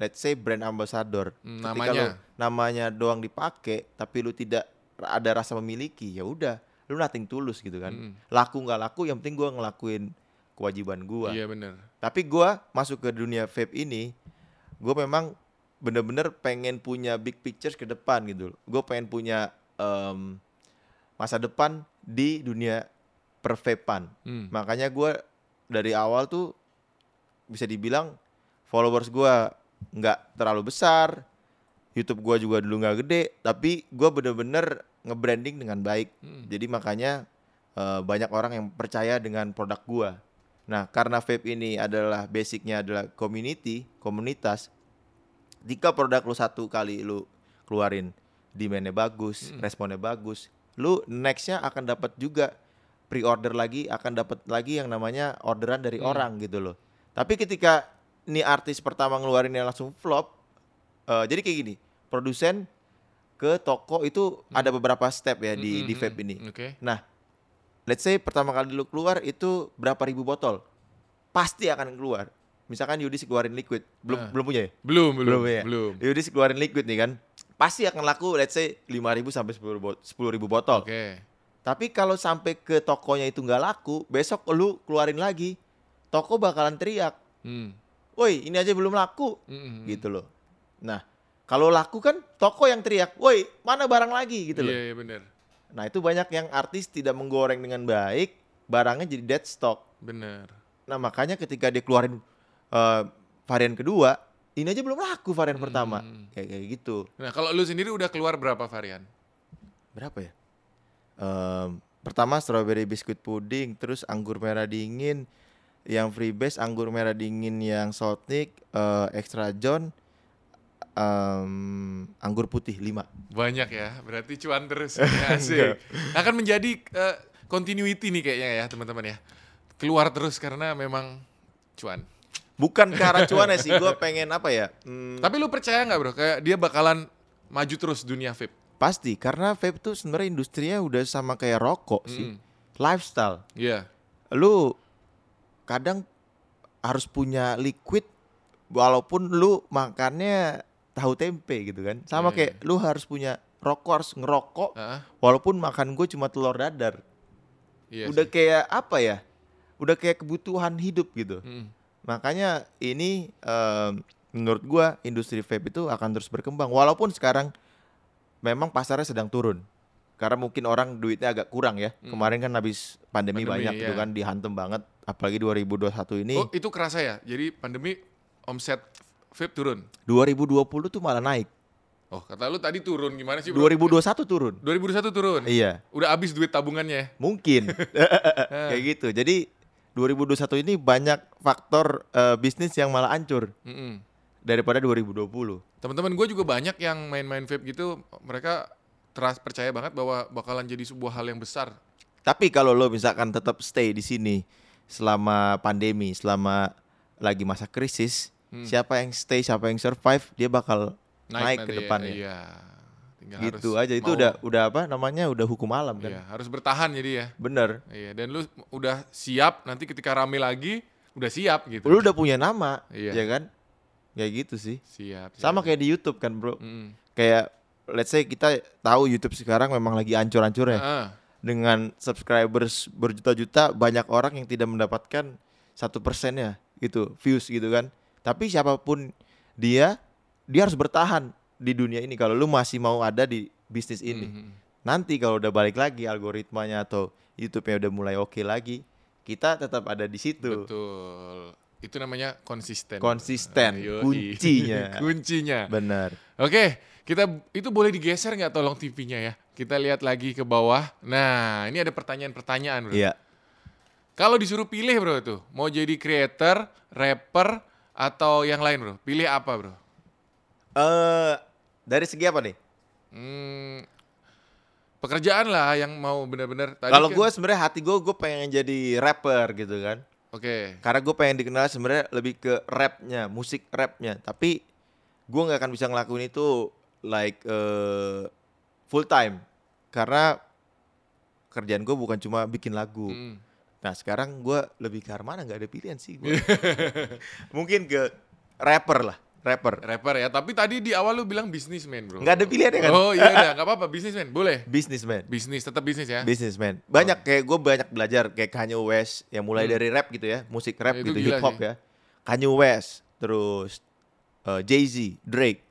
Speaker 1: let's say brand ambassador.
Speaker 2: Hmm,
Speaker 1: Ketika
Speaker 2: namanya.
Speaker 1: lu namanya doang dipakai tapi lu tidak ada rasa memiliki, ya udah, lu nothing tulus gitu kan.
Speaker 2: Mm.
Speaker 1: Laku nggak laku yang penting gua ngelakuin kewajiban gua.
Speaker 2: iya bener.
Speaker 1: Tapi gua masuk ke dunia vape ini, gua memang bener-bener pengen punya big pictures ke depan gitu. loh. Gua pengen punya em, masa depan di dunia pervapan.
Speaker 2: Hmm.
Speaker 1: Makanya gua dari awal tuh bisa dibilang followers gua nggak terlalu besar, YouTube gua juga dulu nggak gede, tapi gua bener-bener nge-branding dengan baik.
Speaker 2: Hmm.
Speaker 1: Jadi makanya eh, banyak orang yang percaya dengan produk gua. Nah, karena vape ini adalah basicnya adalah community, komunitas. Jika produk lu satu kali lu keluarin demand-nya bagus,
Speaker 2: Hmm.
Speaker 1: responnya bagus, lu nextnya akan dapat juga pre-order lagi, akan dapat lagi yang namanya orderan dari
Speaker 2: Hmm.
Speaker 1: orang gitu loh. Tapi ketika ini artis pertama ngeluarin yang langsung flop, eh, jadi kayak gini, produsen ke toko itu ada beberapa step ya di
Speaker 2: Hmm,
Speaker 1: di
Speaker 2: hmm,
Speaker 1: vape
Speaker 2: hmm.
Speaker 1: ini.
Speaker 2: Oke.
Speaker 1: Nah, let's say pertama kali lu keluar itu berapa ribu botol? Pasti akan keluar. Misalkan Yudis keluarin liquid, belum
Speaker 2: Nah.
Speaker 1: belum punya ya?
Speaker 2: Belum, belum,
Speaker 1: ya?
Speaker 2: belum.
Speaker 1: Yudis keluarin liquid nih kan. Pasti akan laku let's say 5000 sampai 10 bot- 10.000 botol.
Speaker 2: Oke.
Speaker 1: Tapi kalau sampai ke tokonya itu nggak laku, besok lu keluarin lagi, toko bakalan teriak,
Speaker 2: Hmm.
Speaker 1: "Woi, ini aja belum laku."
Speaker 2: Hmm, hmm, hmm.
Speaker 1: Gitu loh. Nah, kalau laku kan toko yang teriak, "Woi, mana barang lagi?" gitu loh.
Speaker 2: Iya, iya bener.
Speaker 1: Nah, itu banyak yang artis tidak menggoreng dengan baik, barangnya jadi dead stock.
Speaker 2: Bener.
Speaker 1: Nah, makanya ketika dia keluarin eh, varian kedua, ini aja belum laku varian pertama.
Speaker 2: Hmm.
Speaker 1: Kayak kayak gitu.
Speaker 2: Nah kalau lu sendiri udah keluar berapa varian?
Speaker 1: Berapa ya? Em, pertama strawberry biscuit pudding, terus anggur merah dingin yang freebase, anggur merah dingin yang saltnik, eh, extra john, em, anggur putih 5.
Speaker 2: Banyak ya, berarti cuan terus.
Speaker 1: (laughs) Iya.
Speaker 2: Ya, Asik. Akan menjadi eh, continuity nih kayaknya ya teman-teman ya. Keluar terus karena memang cuan.
Speaker 1: Bukan ke arah cuan ya sih, gue pengen apa ya? Hmm,
Speaker 2: Tapi lu percaya nggak bro, kayak dia bakalan maju terus dunia vape?
Speaker 1: Pasti, karena vape tuh sebenarnya industrinya udah sama kayak rokok sih.
Speaker 2: Mm.
Speaker 1: Lifestyle.
Speaker 2: Iya.
Speaker 1: Lu kadang harus punya liquid walaupun lu makannya tahu tempe gitu kan. Sama
Speaker 2: Iya,
Speaker 1: kayak lu harus punya rokok harus ngerokok
Speaker 2: Heeh.
Speaker 1: walaupun makan gue cuma telur dadar.
Speaker 2: Iya
Speaker 1: udah
Speaker 2: sih.
Speaker 1: kayak apa ya? Udah kayak kebutuhan hidup gitu.
Speaker 2: Mm.
Speaker 1: Makanya ini em, menurut gua industri vape itu akan terus berkembang walaupun sekarang memang pasarnya sedang turun. Karena mungkin orang duitnya agak kurang ya. Kemarin kan habis pandemi,
Speaker 2: Hmm. Pandemi,
Speaker 1: banyak gitu
Speaker 2: iya.
Speaker 1: kan dihantem banget apalagi 2021 ini.
Speaker 2: Oh itu kerasa ya, jadi pandemi omset vape turun.
Speaker 1: 2020 tuh malah naik.
Speaker 2: Oh kata lu tadi turun gimana sih bro?
Speaker 1: 2021 turun.
Speaker 2: 2021 turun?
Speaker 1: Iya,
Speaker 2: Udah habis duit tabungannya ya?
Speaker 1: mungkin.
Speaker 2: (laughs)
Speaker 1: (laughs) Kayak gitu. Jadi 2021 ini banyak faktor eh, bisnis yang malah hancur
Speaker 2: Mm-mm.
Speaker 1: daripada 2020.
Speaker 2: Teman-teman gue juga banyak yang main-main vape gitu, mereka teras percaya banget bahwa bakalan jadi sebuah hal yang besar.
Speaker 1: Tapi kalau lo misalkan tetap stay di sini selama pandemi, selama lagi masa krisis,
Speaker 2: Hmm.
Speaker 1: siapa yang stay, siapa yang survive, dia bakal naik, ke
Speaker 2: nanti ya.
Speaker 1: depannya.
Speaker 2: Iya. Tinggal
Speaker 1: gitu
Speaker 2: harus
Speaker 1: aja. Itu
Speaker 2: mau-
Speaker 1: udah udah apa namanya? Udah hukum alam kan.
Speaker 2: Iya, harus bertahan jadi ya.
Speaker 1: Bener.
Speaker 2: Iya, dan lu udah siap nanti ketika rame lagi udah siap gitu.
Speaker 1: Lu udah punya nama,
Speaker 2: Iya.
Speaker 1: ya kan? Kayak gitu sih.
Speaker 2: Siap.
Speaker 1: Sama
Speaker 2: siap.
Speaker 1: kayak di YouTube kan, Bro.
Speaker 2: Mm-mm.
Speaker 1: Kayak let's say kita tahu YouTube sekarang memang lagi ancur-ancurnya
Speaker 2: Heeh.
Speaker 1: dengan subscribers berjuta-juta banyak orang yang tidak mendapatkan satu persennya gitu views gitu kan tapi siapapun dia dia harus bertahan di dunia ini kalau lu masih mau ada di bisnis ini
Speaker 2: Mhm.
Speaker 1: nanti kalau udah balik lagi algoritmanya atau YouTube-nya udah mulai oke lagi kita tetap ada di situ
Speaker 2: Betul. Itu namanya konsisten.
Speaker 1: Konsisten,
Speaker 2: Yoi.
Speaker 1: kuncinya.
Speaker 2: (laughs) kuncinya.
Speaker 1: benar
Speaker 2: Oke, kita itu boleh digeser nggak tolong TV-nya ya? Kita lihat lagi ke bawah. Nah, ini ada pertanyaan-pertanyaan. Bro.
Speaker 1: iya
Speaker 2: Kalau disuruh pilih bro tuh, mau jadi creator, rapper, atau yang lain bro, pilih apa bro?
Speaker 1: Eh, dari segi apa nih?
Speaker 2: Hmm, pekerjaan lah yang mau bener-bener. tadi
Speaker 1: Kalau
Speaker 2: kan-
Speaker 1: gue sebenarnya hati gue gue pengen jadi rapper gitu kan.
Speaker 2: Oke,
Speaker 1: Karena gue pengen dikenal sebenarnya lebih ke rapnya, musik rapnya. Tapi gue nggak akan bisa ngelakuin itu like eh, full time. Karena kerjaan gue bukan cuma bikin lagu.
Speaker 2: Mm.
Speaker 1: Nah sekarang gue lebih ke arah mana nggak ada pilihan sih.
Speaker 2: (laughs)
Speaker 1: gua. Mungkin ke rapper lah, rapper.
Speaker 2: rapper ya. Tapi tadi di awal lu bilang bisnismen bro.
Speaker 1: Nggak ada pilihan ya kan?
Speaker 2: Oh iya
Speaker 1: (laughs)
Speaker 2: udah, nggak apa-apa, bisnismen boleh.
Speaker 1: Businessman,
Speaker 2: Bisnis, tetap bisnis ya.
Speaker 1: businessman. Banyak kayak gue banyak belajar kayak Kanye West yang mulai dari rap gitu ya, musik rap
Speaker 2: Hmm. Nah, Itu
Speaker 1: gitu,
Speaker 2: gila
Speaker 1: hip hop
Speaker 2: sih.
Speaker 1: ya. Kanye West, terus Jay Z, Drake.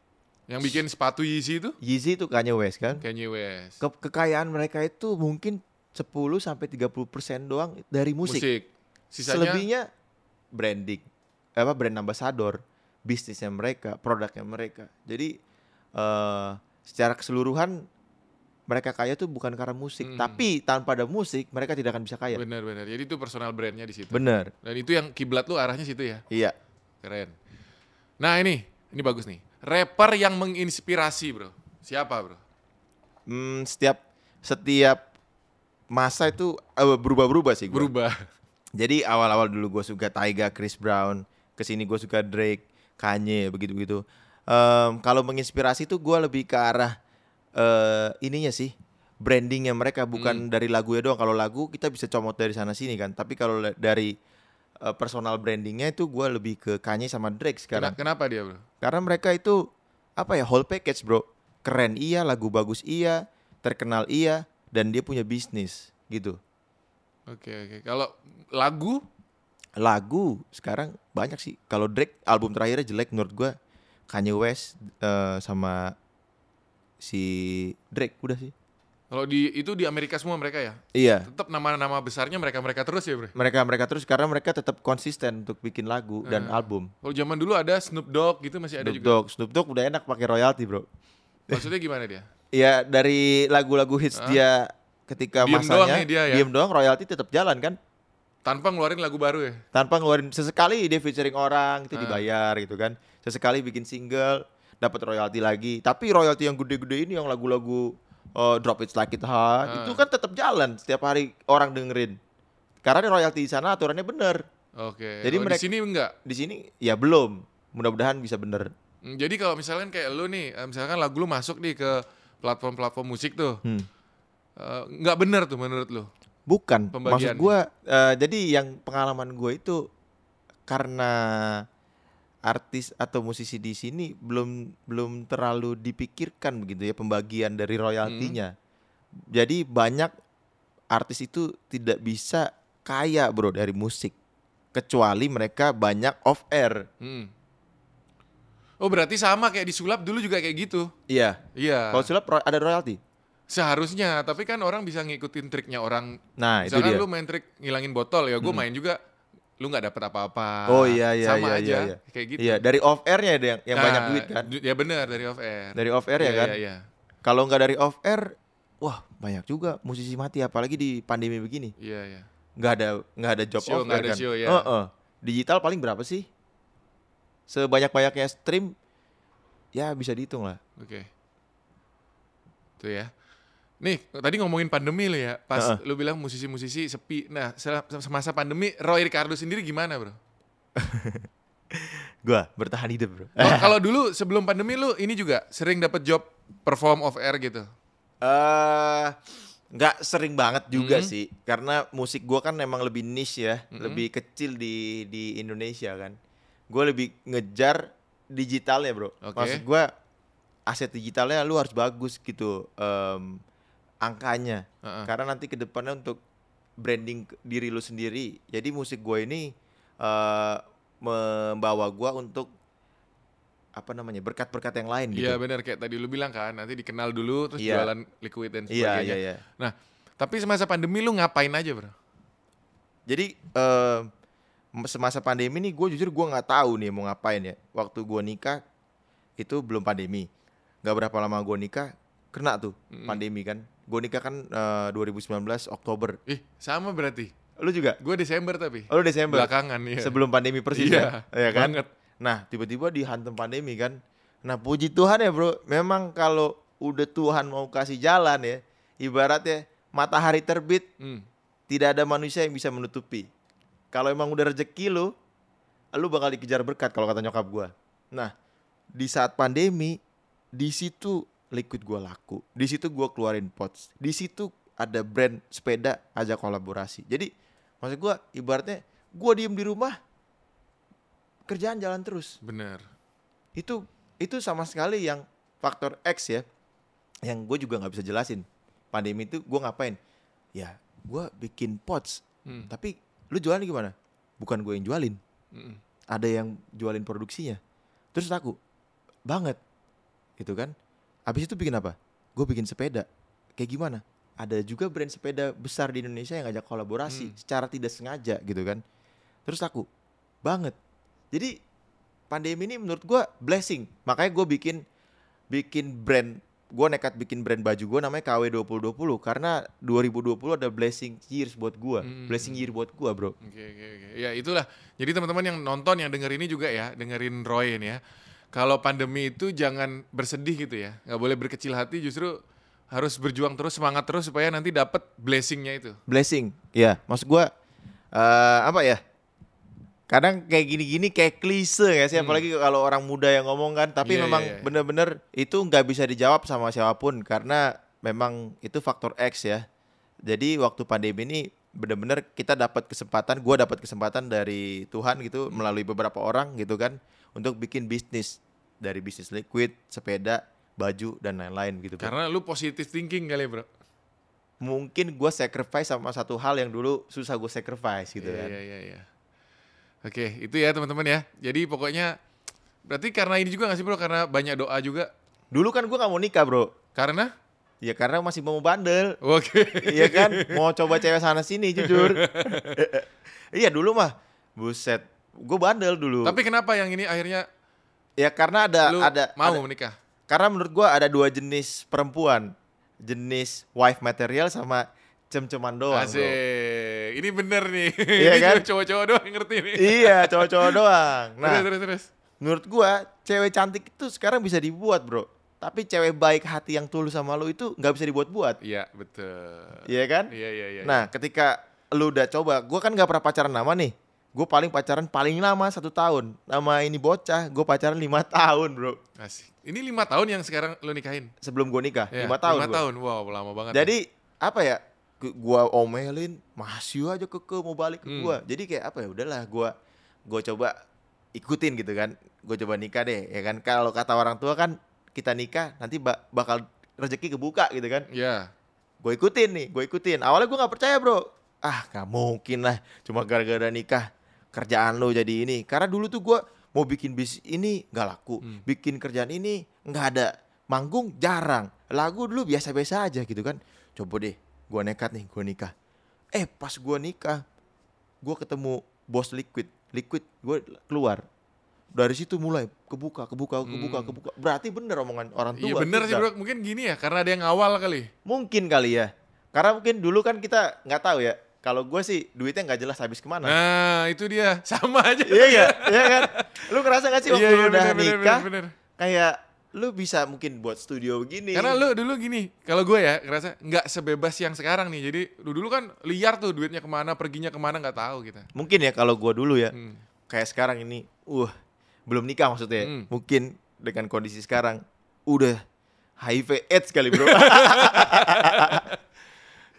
Speaker 2: yang bikin sepatu Yeezy itu
Speaker 1: Yeezy itu Kanye West kan.
Speaker 2: Kanye West.
Speaker 1: Ke- kekayaan mereka itu mungkin 10 sampai 30% doang dari musik.
Speaker 2: Sisanya
Speaker 1: Selebihnya branding. Apa brand ambassador, bisnisnya mereka, produknya mereka. Jadi eh secara keseluruhan mereka kaya tuh bukan karena musik,
Speaker 2: Hmm.
Speaker 1: tapi tanpa ada musik mereka tidak akan bisa kaya.
Speaker 2: benar-benar. Jadi itu personal brandnya di situ.
Speaker 1: Bener.
Speaker 2: Dan itu yang kiblat lu arahnya situ ya.
Speaker 1: Iya.
Speaker 2: Keren. Nah ini, ini bagus nih. Rapper yang menginspirasi bro. Siapa bro?
Speaker 1: Hmm, setiap setiap masa itu eh, berubah-berubah sih gua.
Speaker 2: Berubah.
Speaker 1: Jadi awal-awal dulu gue suka Taiga, Chris Brown, kesini gue suka Drake, Kanye, begitu-begitu. Em, Kalau menginspirasi tuh gue lebih ke arah eh ininya sih, brandingnya mereka bukan dari lagunya doang. Kalau lagu kita bisa comot dari sana sini kan, tapi kalau le- dari eh, personal brandingnya itu gue lebih ke Kanye sama Drake
Speaker 2: Kena-
Speaker 1: sekarang.
Speaker 2: kenapa dia bro?
Speaker 1: Karena mereka itu apa ya whole package bro, keren iya, lagu bagus iya, terkenal iya, dan dia punya bisnis gitu.
Speaker 2: Oke oke. Kalau lagu,
Speaker 1: lagu sekarang banyak sih. Kalau Drake album terakhirnya jelek menurut gua. Kanye West eh, sama si Drake udah sih.
Speaker 2: kalau di itu di Amerika semua mereka ya.
Speaker 1: Iya.
Speaker 2: Tetap nama-nama besarnya mereka mereka terus ya bro.
Speaker 1: Mereka mereka terus karena mereka tetap konsisten untuk bikin lagu dan
Speaker 2: Eh,
Speaker 1: album.
Speaker 2: Kalau zaman dulu ada Snoop Dogg gitu masih ada
Speaker 1: Snoop
Speaker 2: juga.
Speaker 1: Dogg, Snoop Dogg udah enak pakai royalti bro.
Speaker 2: Maksudnya gimana dia?
Speaker 1: Iya dari lagu-lagu hits dia ketika
Speaker 2: Diem doang
Speaker 1: masanya
Speaker 2: nih dia ya?
Speaker 1: diem doang royalti tetap jalan kan
Speaker 2: Tanpa ngeluarin lagu baru ya.
Speaker 1: tanpa ngeluarin sesekali dia featuring orang itu
Speaker 2: Ah.
Speaker 1: dibayar gitu kan sesekali bikin single dapat royalti lagi tapi royalti yang gede-gede ini yang lagu-lagu uh, drop it like it hot
Speaker 2: Ah.
Speaker 1: itu kan tetap jalan setiap hari orang dengerin karena royalti di sana aturannya bener
Speaker 2: Oke.
Speaker 1: Jadi
Speaker 2: Kalau
Speaker 1: mereka-
Speaker 2: di sini enggak.
Speaker 1: di sini ya belum mudah-mudahan bisa bener
Speaker 2: Hmm, Jadi kalau misalkan kayak lu nih, eh, misalkan lagu lu masuk nih ke platform-platform musik tuh,
Speaker 1: Hmm.
Speaker 2: eh, nggak bener tuh menurut lu?
Speaker 1: bukan maksud
Speaker 2: Pembagiannya.
Speaker 1: gue jadi yang pengalaman gue itu karena artis atau musisi di sini belum belum terlalu dipikirkan begitu ya pembagian dari royaltinya
Speaker 2: Hmm.
Speaker 1: jadi banyak artis itu tidak bisa kaya bro dari musik kecuali mereka banyak off air
Speaker 2: Hmm. Oh berarti sama kayak disulap dulu juga kayak gitu?
Speaker 1: iya
Speaker 2: Iya.
Speaker 1: kalau sulap ro- ada royalti
Speaker 2: Seharusnya, tapi kan orang bisa ngikutin triknya orang.
Speaker 1: nah itu
Speaker 2: misalkan
Speaker 1: dia Hmm.
Speaker 2: lu main trik ngilangin botol ya, gue main juga, lu nggak dapet apa-apa.
Speaker 1: Oh, iya, iya, iya,
Speaker 2: sama aja
Speaker 1: iya.
Speaker 2: kayak gitu.
Speaker 1: iya dari off airnya ada yang yang
Speaker 2: Nah,
Speaker 1: banyak duit kan
Speaker 2: du- Ya bener dari off air.
Speaker 1: dari off air ya
Speaker 2: Iya,
Speaker 1: kan
Speaker 2: Iya, iya.
Speaker 1: Kalau nggak dari off air, wah banyak juga musisi mati apalagi di pandemi begini.
Speaker 2: Iya, iya.
Speaker 1: Nggak ada nggak ada job
Speaker 2: Show,
Speaker 1: off
Speaker 2: nggak
Speaker 1: air
Speaker 2: ada
Speaker 1: kan.
Speaker 2: show, ya.
Speaker 1: Heeh. Digital paling berapa sih? Sebanyak-banyaknya stream ya bisa dihitung lah.
Speaker 2: Oke. Itu ya. Nih, tadi ngomongin pandemi lu ya. Pas
Speaker 1: Heeh.
Speaker 2: lu bilang musisi-musisi sepi. Nah, sel- semasa pandemi Roy Ricardo sendiri gimana, Bro?
Speaker 1: Gua bertahan hidup, Bro. (laughs)
Speaker 2: Kalau- Oh, Kalau dulu sebelum pandemi lu ini juga sering dapat job perform off air gitu.
Speaker 1: Eh nggak sering banget juga
Speaker 2: Mm-mm.
Speaker 1: sih karena musik gua kan emang lebih niche ya, lebih kecil di di Indonesia kan. Gue lebih ngejar digitalnya, Bro.
Speaker 2: Oke.
Speaker 1: Maksud gua aset digitalnya lu harus bagus gitu em, angkanya.
Speaker 2: Heeh.
Speaker 1: Karena nanti ke depannya untuk branding ke- diri lu sendiri. Jadi musik gue ini eh, membawa gua untuk apa namanya? berkat-berkat yang lain gitu.
Speaker 2: Iya benar kayak tadi lu bilang kan, nanti dikenal dulu terus
Speaker 1: Iya.
Speaker 2: jualan liquid dan
Speaker 1: Iya,
Speaker 2: sebagainya.
Speaker 1: iya, iya.
Speaker 2: Nah, tapi semasa pandemi lu ngapain aja, Bro?
Speaker 1: Jadi eh, semasa pandemi nih gue jujur gue nggak tahu nih mau ngapain ya. Waktu gue nikah itu belum pandemi. Gak berapa lama gue nikah kena tuh pandemi kan. Gue nikah kan eh, 2019 Oktober.
Speaker 2: Ih, sama berarti.
Speaker 1: Lu juga?
Speaker 2: Gue Desember tapi.
Speaker 1: Oh, lu Desember.
Speaker 2: Belakangan ya.
Speaker 1: Sebelum pandemi persis
Speaker 2: Iya,
Speaker 1: ya. Iya kan?
Speaker 2: banget.
Speaker 1: Nah, tiba-tiba dihantam pandemi kan. Nah, puji Tuhan ya, Bro. Memang kalau udah Tuhan mau kasih jalan ya, ibaratnya matahari terbit,
Speaker 2: Hmm.
Speaker 1: tidak ada manusia yang bisa menutupi. Kalau emang udah rezeki lu, lu bakal dikejar berkat kalau kata nyokap gua. Nah, di saat pandemi, di situ liquid gua laku. Di situ gua keluarin pots. Di situ ada brand sepeda ajak kolaborasi. Jadi maksud gua ibaratnya gua diem di rumah kerjaan jalan terus
Speaker 2: Bener.
Speaker 1: itu itu sama sekali yang faktor X ya yang gue juga nggak bisa jelasin pandemi itu gue ngapain ya gue bikin pots
Speaker 2: Hmm.
Speaker 1: tapi lu jualan gimana bukan gue yang jualin
Speaker 2: Mm-mm.
Speaker 1: ada yang jualin produksinya terus aku banget gitu kan habis itu bikin apa gue bikin sepeda kayak gimana ada juga brand sepeda besar di Indonesia yang ngajak kolaborasi
Speaker 2: Hmm.
Speaker 1: secara tidak sengaja gitu kan terus aku banget jadi pandemi ini menurut gue blessing makanya gue bikin bikin brand gue nekat bikin brand baju gue namanya KW 2020 karena 2020 ada blessing years buat gue
Speaker 2: Hmm.
Speaker 1: blessing year buat gue bro
Speaker 2: Oke oke oke. Ya itulah. Jadi teman-teman yang nonton yang denger ini juga ya, dengerin Roy ini ya. Kalau pandemi itu jangan bersedih gitu ya. nggak boleh berkecil hati justru harus berjuang terus, semangat terus supaya nanti dapat blessingnya itu.
Speaker 1: blessing
Speaker 2: Iya.
Speaker 1: ya maksud gua eh apa ya kadang kayak gini-gini kayak klise nggak sih apalagi kalau orang muda yang ngomong kan tapi
Speaker 2: Hmm. Iya,
Speaker 1: memang
Speaker 2: iya, iya.
Speaker 1: bener-bener itu nggak bisa dijawab sama siapapun karena memang itu faktor X ya jadi waktu pandemi ini bener-bener kita dapat kesempatan gua dapat kesempatan dari Tuhan gitu melalui beberapa orang gitu kan untuk bikin bisnis dari bisnis liquid sepeda baju dan lain-lain gitu Bro.
Speaker 2: Karena lu positive thinking kali ya, Bro.
Speaker 1: mungkin gua sacrifice sama satu hal yang dulu susah gue sacrifice gitu
Speaker 2: Iya,
Speaker 1: kan
Speaker 2: Iya, iya, iya. Oke, itu ya teman-teman ya. Jadi pokoknya berarti karena ini juga nggak sih bro? Karena banyak doa juga.
Speaker 1: Dulu kan gue gak mau nikah bro
Speaker 2: Karena?
Speaker 1: Ya karena masih mau bandel
Speaker 2: Oke.
Speaker 1: Iya kan Mau coba cewek sana sini
Speaker 2: (laughs)
Speaker 1: jujur Iya dulu mah Buset Gue bandel dulu
Speaker 2: Tapi kenapa yang ini akhirnya
Speaker 1: Ya karena ada
Speaker 2: lu
Speaker 1: ada
Speaker 2: mau
Speaker 1: ada-
Speaker 2: menikah?
Speaker 1: Karena menurut gue ada dua jenis perempuan Jenis wife material sama cem-ceman doang bro.
Speaker 2: Asik. Ini bener nih.
Speaker 1: Iya
Speaker 2: ini
Speaker 1: kan?
Speaker 2: cuma cowok-cowok doang yang ngerti nih.
Speaker 1: Iya cowok-cowok doang Nah
Speaker 2: terus, terus, terus.
Speaker 1: menurut gua cewek cantik itu sekarang bisa dibuat bro tapi cewek baik hati yang tulus sama lu itu nggak bisa dibuat-buat
Speaker 2: Iya, betul.
Speaker 1: iya kan
Speaker 2: Iya, iya, iya.
Speaker 1: nah ketika lu udah coba gua kan nggak pernah pacaran lama nih gue paling pacaran paling lama satu tahun nama ini bocah gue pacaran lima (laughs) tahun bro
Speaker 2: Asik. Ini lima tahun yang sekarang lu nikahin?
Speaker 1: sebelum gue nikah
Speaker 2: Iya,
Speaker 1: lima tahun
Speaker 2: Lima
Speaker 1: gua.
Speaker 2: tahun, wow lama banget.
Speaker 1: jadi apa ya Gu- gua omelin masih aja keke mau balik ke gua jadi kayak apa ya udahlah gua gua coba ikutin gitu kan gue coba nikah deh ya kan kalau kata orang tua kan kita nikah nanti ba- bakal rezeki kebuka gitu kan
Speaker 2: Ya.
Speaker 1: gue ikutin nih gue ikutin awalnya gue nggak percaya bro ah nggak mungkin lah cuma gara-gara nikah kerjaan lo jadi ini karena dulu tuh gue mau bikin bis ini nggak laku
Speaker 2: Hmm.
Speaker 1: bikin kerjaan ini nggak ada manggung jarang lagu dulu biasa-biasa aja gitu kan coba deh gue nekat nih gue nikah eh pas gue nikah gue ketemu bos liquid liquid gue keluar dari situ mulai kebuka kebuka kebuka kebuka berarti bener omongan orang tua
Speaker 2: Hmm. Iya bener sih
Speaker 1: Tidak.
Speaker 2: bro, mungkin gini ya karena ada yang awal kali.
Speaker 1: Mungkin kali ya. Karena mungkin dulu kan kita nggak tahu ya. Kalau gue sih duitnya nggak jelas habis kemana.
Speaker 2: Nah itu dia, (laughs) sama aja.
Speaker 1: (laughs) Iya iya, iya kan. Lu ngerasa nggak sih waktu
Speaker 2: Iya,
Speaker 1: lu udah
Speaker 2: iya, bener, bener,
Speaker 1: nikah?
Speaker 2: bener, bener.
Speaker 1: Kayak lu bisa mungkin buat studio begini.
Speaker 2: Karena lu dulu gini, kalau gue ya ngerasa nggak sebebas yang sekarang nih. Jadi lu dulu kan liar tuh duitnya kemana, perginya kemana nggak tahu kita.
Speaker 1: mungkin ya kalau gue dulu ya.
Speaker 2: Hmm.
Speaker 1: Kayak sekarang ini, uh belum nikah maksudnya. ya.
Speaker 2: Hmm.
Speaker 1: Mungkin dengan kondisi sekarang udah HIV AIDS kali bro. (laughs)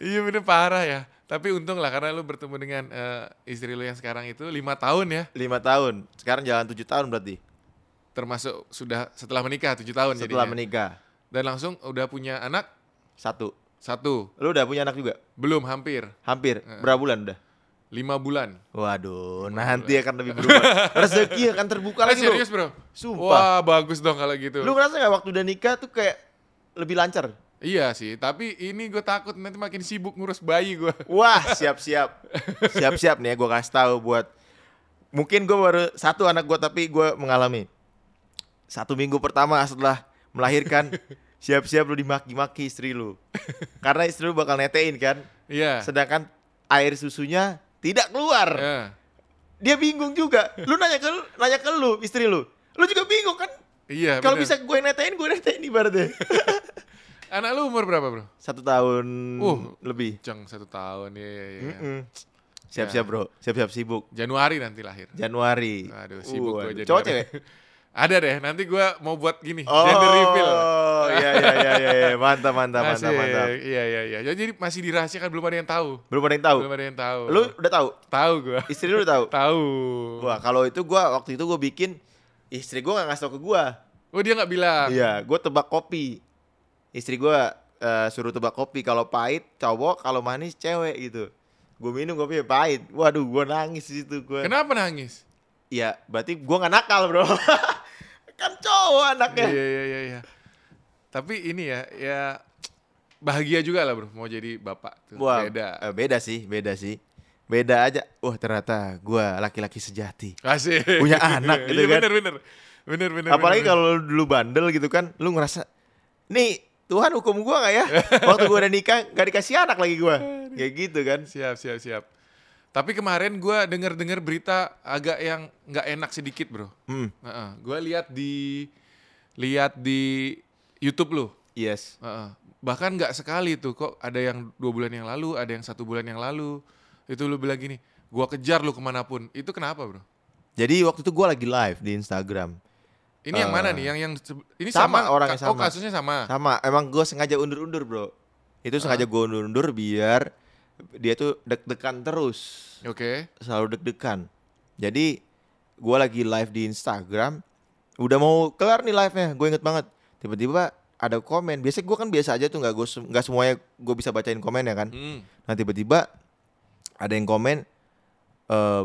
Speaker 2: Iya bener parah ya. Tapi untung lah karena lu bertemu dengan eh, istri lu yang sekarang itu lima tahun ya,
Speaker 1: Lima tahun. Sekarang jalan tujuh tahun berarti.
Speaker 2: termasuk sudah setelah menikah tujuh tahun
Speaker 1: Setelah
Speaker 2: jadinya.
Speaker 1: menikah.
Speaker 2: Dan langsung udah punya anak
Speaker 1: Satu.
Speaker 2: satu,
Speaker 1: Lu udah punya anak juga?
Speaker 2: belum hampir
Speaker 1: Hampir. Berapa bulan udah?
Speaker 2: lima bulan.
Speaker 1: Waduh, nanti akan lebih berubah. Rezeki akan (laughs) terbuka
Speaker 2: Kalau
Speaker 1: lagi, bro.
Speaker 2: Eh, serius bro?
Speaker 1: Sumpah.
Speaker 2: Wah bagus dong kalau gitu.
Speaker 1: Lu ngerasa nggak waktu udah nikah tuh kayak lebih lancar?
Speaker 2: Iya sih, tapi ini gue takut nanti makin sibuk ngurus bayi gue.
Speaker 1: Wah, siap-siap. Siap-siap nih ya gue kasih tahu buat mungkin gue baru satu anak gue tapi gue mengalami satu minggu pertama setelah melahirkan (laughs) siap-siap lu dimaki-maki istri lu karena istri lu bakal netein kan
Speaker 2: (laughs) Iya.
Speaker 1: sedangkan air susunya tidak keluar.
Speaker 2: Eh,
Speaker 1: Dia bingung juga. Lu nanya ke lu- nanya ke lu istri lu. Lu juga bingung kan?
Speaker 2: iya.
Speaker 1: Kalau
Speaker 2: bener.
Speaker 1: bisa gue netain, gue netain
Speaker 2: (laughs)
Speaker 1: ibaratnya.
Speaker 2: Anak lu umur berapa bro?
Speaker 1: Satu tahun
Speaker 2: Uh.
Speaker 1: lebih.
Speaker 2: Ceng satu tahun ya. ya, ya.
Speaker 1: Mm-mm. Siap-siap bro, siap-siap sibuk.
Speaker 2: Januari nanti lahir.
Speaker 1: Januari.
Speaker 2: Aduh sibuk
Speaker 1: Waduh.
Speaker 2: gue jadi.
Speaker 1: Cowok
Speaker 2: (laughs)
Speaker 1: cewek?
Speaker 2: Ada deh, nanti gue mau buat gini,
Speaker 1: Oh,
Speaker 2: gender reveal.
Speaker 1: iya iya iya iya iya. mantap mantap mantap
Speaker 2: Masih,
Speaker 1: mantap.
Speaker 2: Iya, iya, iya. Jadi masih dirahasiakan, belum ada yang tahu.
Speaker 1: Belum ada yang tahu.
Speaker 2: Belum ada yang tahu.
Speaker 1: Lu udah tahu?
Speaker 2: Tahu gue.
Speaker 1: Istri lu udah tahu?
Speaker 2: tahu.
Speaker 1: Wah, kalau itu gua waktu itu gue bikin istri gua nggak ngasih tau ke gua.
Speaker 2: Oh dia nggak bilang.
Speaker 1: Iya, gue tebak kopi. Istri gua eh, suruh tebak kopi kalau pahit cowok, kalau manis cewek gitu. Gue minum kopi pahit. Waduh, gua nangis di situ gua.
Speaker 2: Kenapa nangis?
Speaker 1: Iya, berarti gua nggak nakal, Bro. (laughs) kan cowok anaknya.
Speaker 2: Iya, iya, iya, iya. Tapi ini ya, ya bahagia juga lah bro, mau jadi bapak tuh.
Speaker 1: Wah,
Speaker 2: Beda.
Speaker 1: eh, beda sih, beda sih. Beda aja. Wah, ternyata gua laki-laki sejati.
Speaker 2: Asik.
Speaker 1: punya anak gitu
Speaker 2: Iya,
Speaker 1: kan.
Speaker 2: Bener, bener. Bener, bener.
Speaker 1: Apalagi
Speaker 2: bener,
Speaker 1: kalau lu dulu bandel gitu kan, lu ngerasa nih Tuhan hukum gua nggak ya? (laughs) Waktu gua udah nikah gak dikasih anak lagi gua. Kayak gitu kan.
Speaker 2: Siap, siap, siap. Tapi kemarin gue denger-dengar berita agak yang nggak enak sedikit bro.
Speaker 1: Hmm,
Speaker 2: gue lihat di lihat di YouTube lu.
Speaker 1: yes.
Speaker 2: Heeh. Bahkan nggak sekali tuh kok ada yang dua bulan yang lalu, ada yang satu bulan yang lalu. Itu lu bilang gini, gue kejar lu kemanapun. Itu kenapa bro?
Speaker 1: Jadi waktu itu gua lagi live di Instagram.
Speaker 2: Ini yang mana nih? Yang yang sebe-
Speaker 1: Eh.
Speaker 2: ini
Speaker 1: sama,
Speaker 2: sama,
Speaker 1: orangnya
Speaker 2: Ka- Oh
Speaker 1: sama.
Speaker 2: kasusnya sama.
Speaker 1: Sama, emang gua sengaja undur-undur, Bro. Itu
Speaker 2: Ah.
Speaker 1: sengaja gua undur-undur biar dia tuh deg-degan terus.
Speaker 2: Oke.
Speaker 1: Selalu deg-degan. Jadi gua lagi live di Instagram, udah mau kelar nih live-nya, gue inget banget. Tiba-tiba ada komen. Biasanya gua kan biasa aja tuh nggak gue nggak semuanya gue bisa bacain komen ya kan.
Speaker 2: Hmm.
Speaker 1: Nah tiba-tiba ada yang komen eh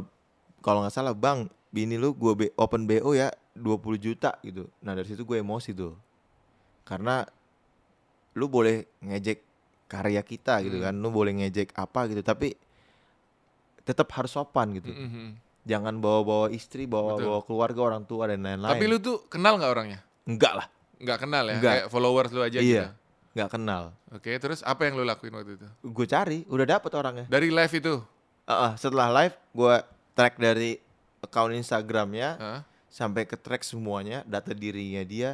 Speaker 1: kalau nggak salah bang bini lu gue B- open bo ya 20 juta gitu. Nah dari situ gue emosi tuh karena lu boleh ngejek karya kita
Speaker 2: Hmm.
Speaker 1: gitu kan, lu boleh ngejek apa gitu tapi tetap harus sopan gitu.
Speaker 2: Mm, mm, mm.
Speaker 1: Jangan bawa-bawa istri, bawa-bawa keluarga orang tua dan lain-lain.
Speaker 2: Tapi lu tuh kenal nggak orangnya?
Speaker 1: enggak lah,
Speaker 2: Nggak kenal ya?
Speaker 1: Nggak.
Speaker 2: Kayak followers lu aja
Speaker 1: iya,
Speaker 2: gitu.
Speaker 1: nggak kenal.
Speaker 2: Oke, terus apa yang lu lakuin waktu itu?
Speaker 1: Gue cari, udah dapet orangnya.
Speaker 2: Dari live itu?
Speaker 1: Heeh, setelah live gue track dari account Instagramnya
Speaker 2: Hah?
Speaker 1: sampai ke track semuanya data dirinya dia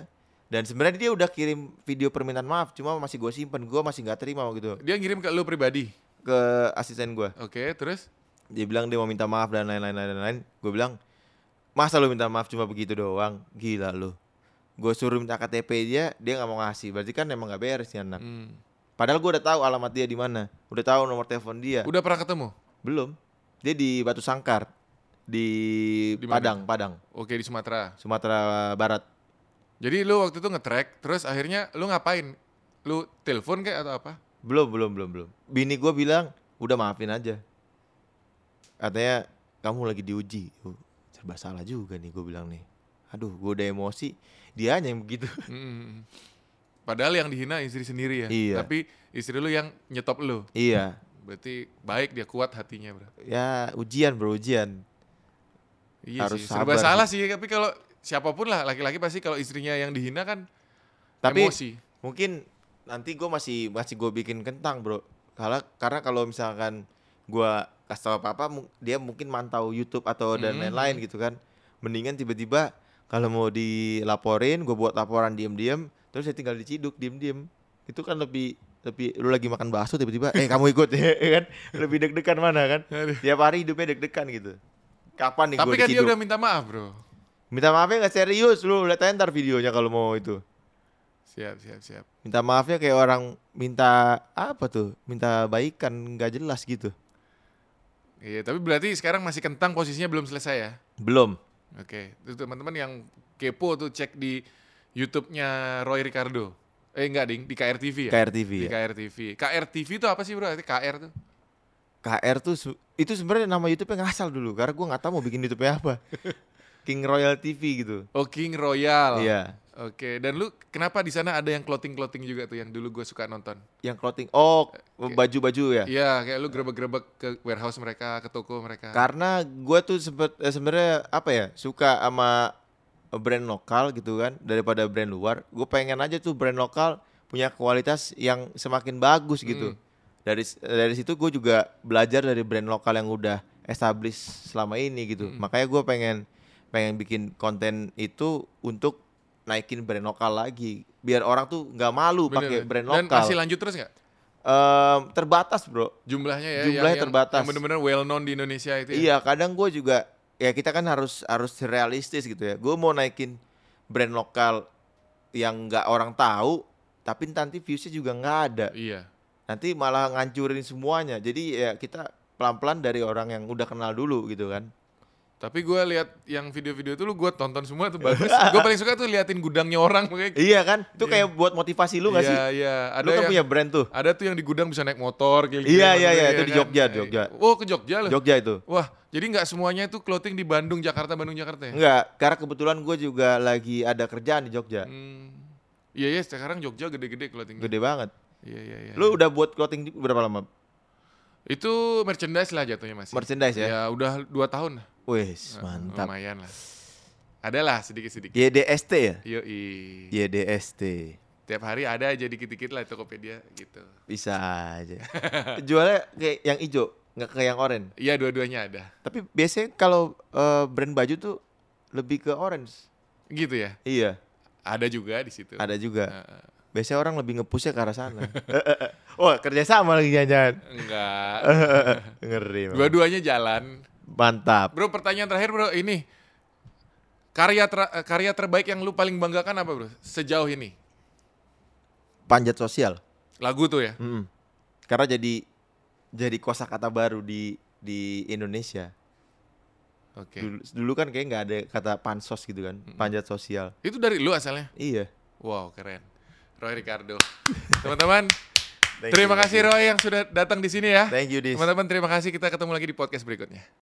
Speaker 1: dan sebenarnya dia udah kirim video permintaan maaf cuma masih gue simpen gue masih nggak terima gitu
Speaker 2: Dia ngirim ke lu pribadi?
Speaker 1: ke asisten gue
Speaker 2: Oke, terus?
Speaker 1: dia bilang dia mau minta maaf dan lain-lain lain-lain gue bilang masa lu minta maaf cuma begitu doang gila lu gue suruh minta KTP dia dia nggak mau ngasih berarti kan emang nggak beres nih anak
Speaker 2: Hmm.
Speaker 1: padahal gue udah tahu alamat dia di mana udah tahu nomor telepon dia
Speaker 2: Udah pernah ketemu?
Speaker 1: belum dia di Batu Sangkar di,
Speaker 2: Di mana?
Speaker 1: Padang Padang
Speaker 2: Oke, di Sumatera.
Speaker 1: Sumatera Barat
Speaker 2: Jadi lu waktu itu nge-track, terus akhirnya lu ngapain? Lu telepon kayak atau apa?
Speaker 1: Belum, belum, belum, belum. Bini gue bilang, udah maafin aja. Katanya kamu lagi diuji. Oh, Serba salah juga nih gue bilang nih. Aduh, gue udah emosi. Dia yang begitu. (laughs)
Speaker 2: Mm. Padahal yang dihina istri sendiri ya.
Speaker 1: Iya.
Speaker 2: Tapi istri lu yang nyetop lu.
Speaker 1: iya.
Speaker 2: Berarti baik dia kuat hatinya, Bro.
Speaker 1: Ya ujian bro, ujian.
Speaker 2: Iya
Speaker 1: Harus
Speaker 2: sih.
Speaker 1: sabar
Speaker 2: Serba salah sih, tapi kalau siapapun lah laki-laki pasti kalau istrinya yang dihina kan
Speaker 1: Tapi
Speaker 2: emosi.
Speaker 1: mungkin nanti gue masih masih gue bikin kentang bro. Karena karena kalau misalkan gue kasih tau apa apa, dia mungkin mantau YouTube atau dan
Speaker 2: Mhm.
Speaker 1: lain-lain gitu kan. Mendingan tiba-tiba kalau mau dilaporin, gue buat laporan diem-diem, terus saya tinggal diciduk diem-diem. Itu kan lebih lebih lu lagi makan bakso tiba-tiba, eh kamu ikut ya (laughs) kan? Lebih deg-degan mana kan?
Speaker 2: Aduh.
Speaker 1: Tiap hari hidupnya deg-degan gitu. Kapan nih
Speaker 2: Tapi
Speaker 1: gue
Speaker 2: kan dia
Speaker 1: diciduk?
Speaker 2: udah minta maaf, Bro.
Speaker 1: Minta maafnya nggak serius, lu lihat aja ntar videonya kalau mau itu.
Speaker 2: Siap, siap, siap.
Speaker 1: Minta maafnya kayak orang minta apa tuh? Minta baikan nggak jelas gitu.
Speaker 2: Iya, tapi berarti sekarang masih kentang posisinya belum selesai ya.
Speaker 1: Belum.
Speaker 2: Oke, itu teman-teman yang kepo tuh cek di YouTube-nya Roy Ricardo. Eh enggak ding, di KRTV ya.
Speaker 1: KRTV
Speaker 2: Di
Speaker 1: ya.
Speaker 2: KRTV. KRTV itu apa sih bro? Arti KR tuh?
Speaker 1: KR tuh su- itu sebenarnya nama YouTube-nya ngasal dulu karena gua nggak tahu mau bikin YouTube-nya (laughs) apa. King Royal TV gitu.
Speaker 2: Oh King Royal.
Speaker 1: Iya.
Speaker 2: Oke, dan lu kenapa di sana ada yang clothing-clothing juga tuh yang dulu gue suka nonton?
Speaker 1: Yang clothing oh baju-baju ya.
Speaker 2: Iya, kayak lu grebek-grebek ke warehouse mereka, ke toko mereka.
Speaker 1: Karena gua tuh sempet eh, sebenarnya apa ya? Suka sama brand lokal gitu kan daripada brand luar. Gue pengen aja tuh brand lokal punya kualitas yang
Speaker 2: Hmm.
Speaker 1: semakin bagus gitu. Dari dari situ gue juga belajar dari brand lokal yang udah establish selama ini gitu.
Speaker 2: Mm-mm.
Speaker 1: Makanya gue pengen pengen bikin konten itu untuk naikin brand lokal lagi, biar orang tuh nggak malu
Speaker 2: Bener,
Speaker 1: pakai
Speaker 2: bener.
Speaker 1: brand
Speaker 2: Dan
Speaker 1: lokal.
Speaker 2: masih lanjut terus nggak?
Speaker 1: Em, terbatas bro.
Speaker 2: Jumlahnya ya.
Speaker 1: Jumlahnya
Speaker 2: yang,
Speaker 1: terbatas.
Speaker 2: Yang benar-benar well known di Indonesia itu. Ya?
Speaker 1: Iya, kadang gue juga ya kita kan harus harus realistis gitu ya. Gue mau naikin brand lokal yang nggak orang tahu, tapi nanti viewsnya juga nggak ada.
Speaker 2: Iya.
Speaker 1: Nanti malah ngancurin semuanya. Jadi ya kita pelan-pelan dari orang yang udah kenal dulu gitu kan.
Speaker 2: Tapi gue lihat yang video-video itu lu gue tonton semua tuh bagus. gue paling suka tuh liatin gudangnya orang kayak.
Speaker 1: Iya kan? Itu kayak buat motivasi lu nggak sih?
Speaker 2: Iya iya. Ada
Speaker 1: Lu kan
Speaker 2: yang
Speaker 1: punya brand tuh,
Speaker 2: ada tuh yang di gudang bisa naik motor
Speaker 1: Iya,
Speaker 2: kayak
Speaker 1: iya,
Speaker 2: maksudnya,
Speaker 1: iya,
Speaker 2: ya
Speaker 1: itu di
Speaker 2: kan?
Speaker 1: Jogja, Jogja.
Speaker 2: Oh ke Jogja loh.
Speaker 1: Jogja itu.
Speaker 2: Wah jadi nggak semuanya itu clothing di Bandung Jakarta Bandung Jakarta ya?
Speaker 1: Enggak, karena kebetulan gue juga lagi ada kerjaan di Jogja.
Speaker 2: Hmm. Iya iya sekarang Jogja gede-gede clothing.
Speaker 1: Gede banget.
Speaker 2: Iya iya iya.
Speaker 1: Lu udah buat clothing di- berapa lama?
Speaker 2: Itu merchandise lah jatuhnya masih.
Speaker 1: Merchandise ya?
Speaker 2: Ya udah dua tahun. lah.
Speaker 1: Wih,
Speaker 2: Eh,
Speaker 1: mantap.
Speaker 2: Lumayan lah. Adalah sedikit-sedikit.
Speaker 1: YDST ya?
Speaker 2: Yoi.
Speaker 1: YDST.
Speaker 2: Tiap hari ada aja dikit-dikit lah Tokopedia gitu.
Speaker 1: Bisa
Speaker 2: (laughs)
Speaker 1: aja. Jualnya kayak yang hijau, nggak kayak yang orange.
Speaker 2: Iya dua-duanya ada.
Speaker 1: Tapi biasanya kalau eh, brand baju tuh lebih ke orange.
Speaker 2: Gitu ya.
Speaker 1: Iya,
Speaker 2: Ada juga di situ.
Speaker 1: ada juga.
Speaker 2: Eh, eh.
Speaker 1: Biasanya orang lebih ngepushnya ke arah
Speaker 2: (laughs)
Speaker 1: sana. Wah, kerjasama lagi jangan
Speaker 2: enggak.
Speaker 1: Ngeri. memang.
Speaker 2: Dua-duanya jalan.
Speaker 1: Mantap.
Speaker 2: Bro, pertanyaan terakhir, Bro. Ini karya ter- eh, karya terbaik yang lu paling banggakan apa, Bro? Sejauh ini.
Speaker 1: Panjat sosial.
Speaker 2: Lagu tuh ya.
Speaker 1: Mm-mm. Karena jadi jadi kosakata baru di di Indonesia.
Speaker 2: Oke.
Speaker 1: Dulu, dulu kan kayak nggak ada kata pansos gitu kan, panjat sosial.
Speaker 2: Itu dari lu asalnya.
Speaker 1: Iya.
Speaker 2: Wow, keren. Roy
Speaker 1: (laughs)
Speaker 2: Ricardo. Teman-teman, terima kasih Roy yang sudah datang di sini ya.
Speaker 1: Thank you, Dis.
Speaker 2: Teman-teman, terima kasih. Kita ketemu lagi di podcast berikutnya.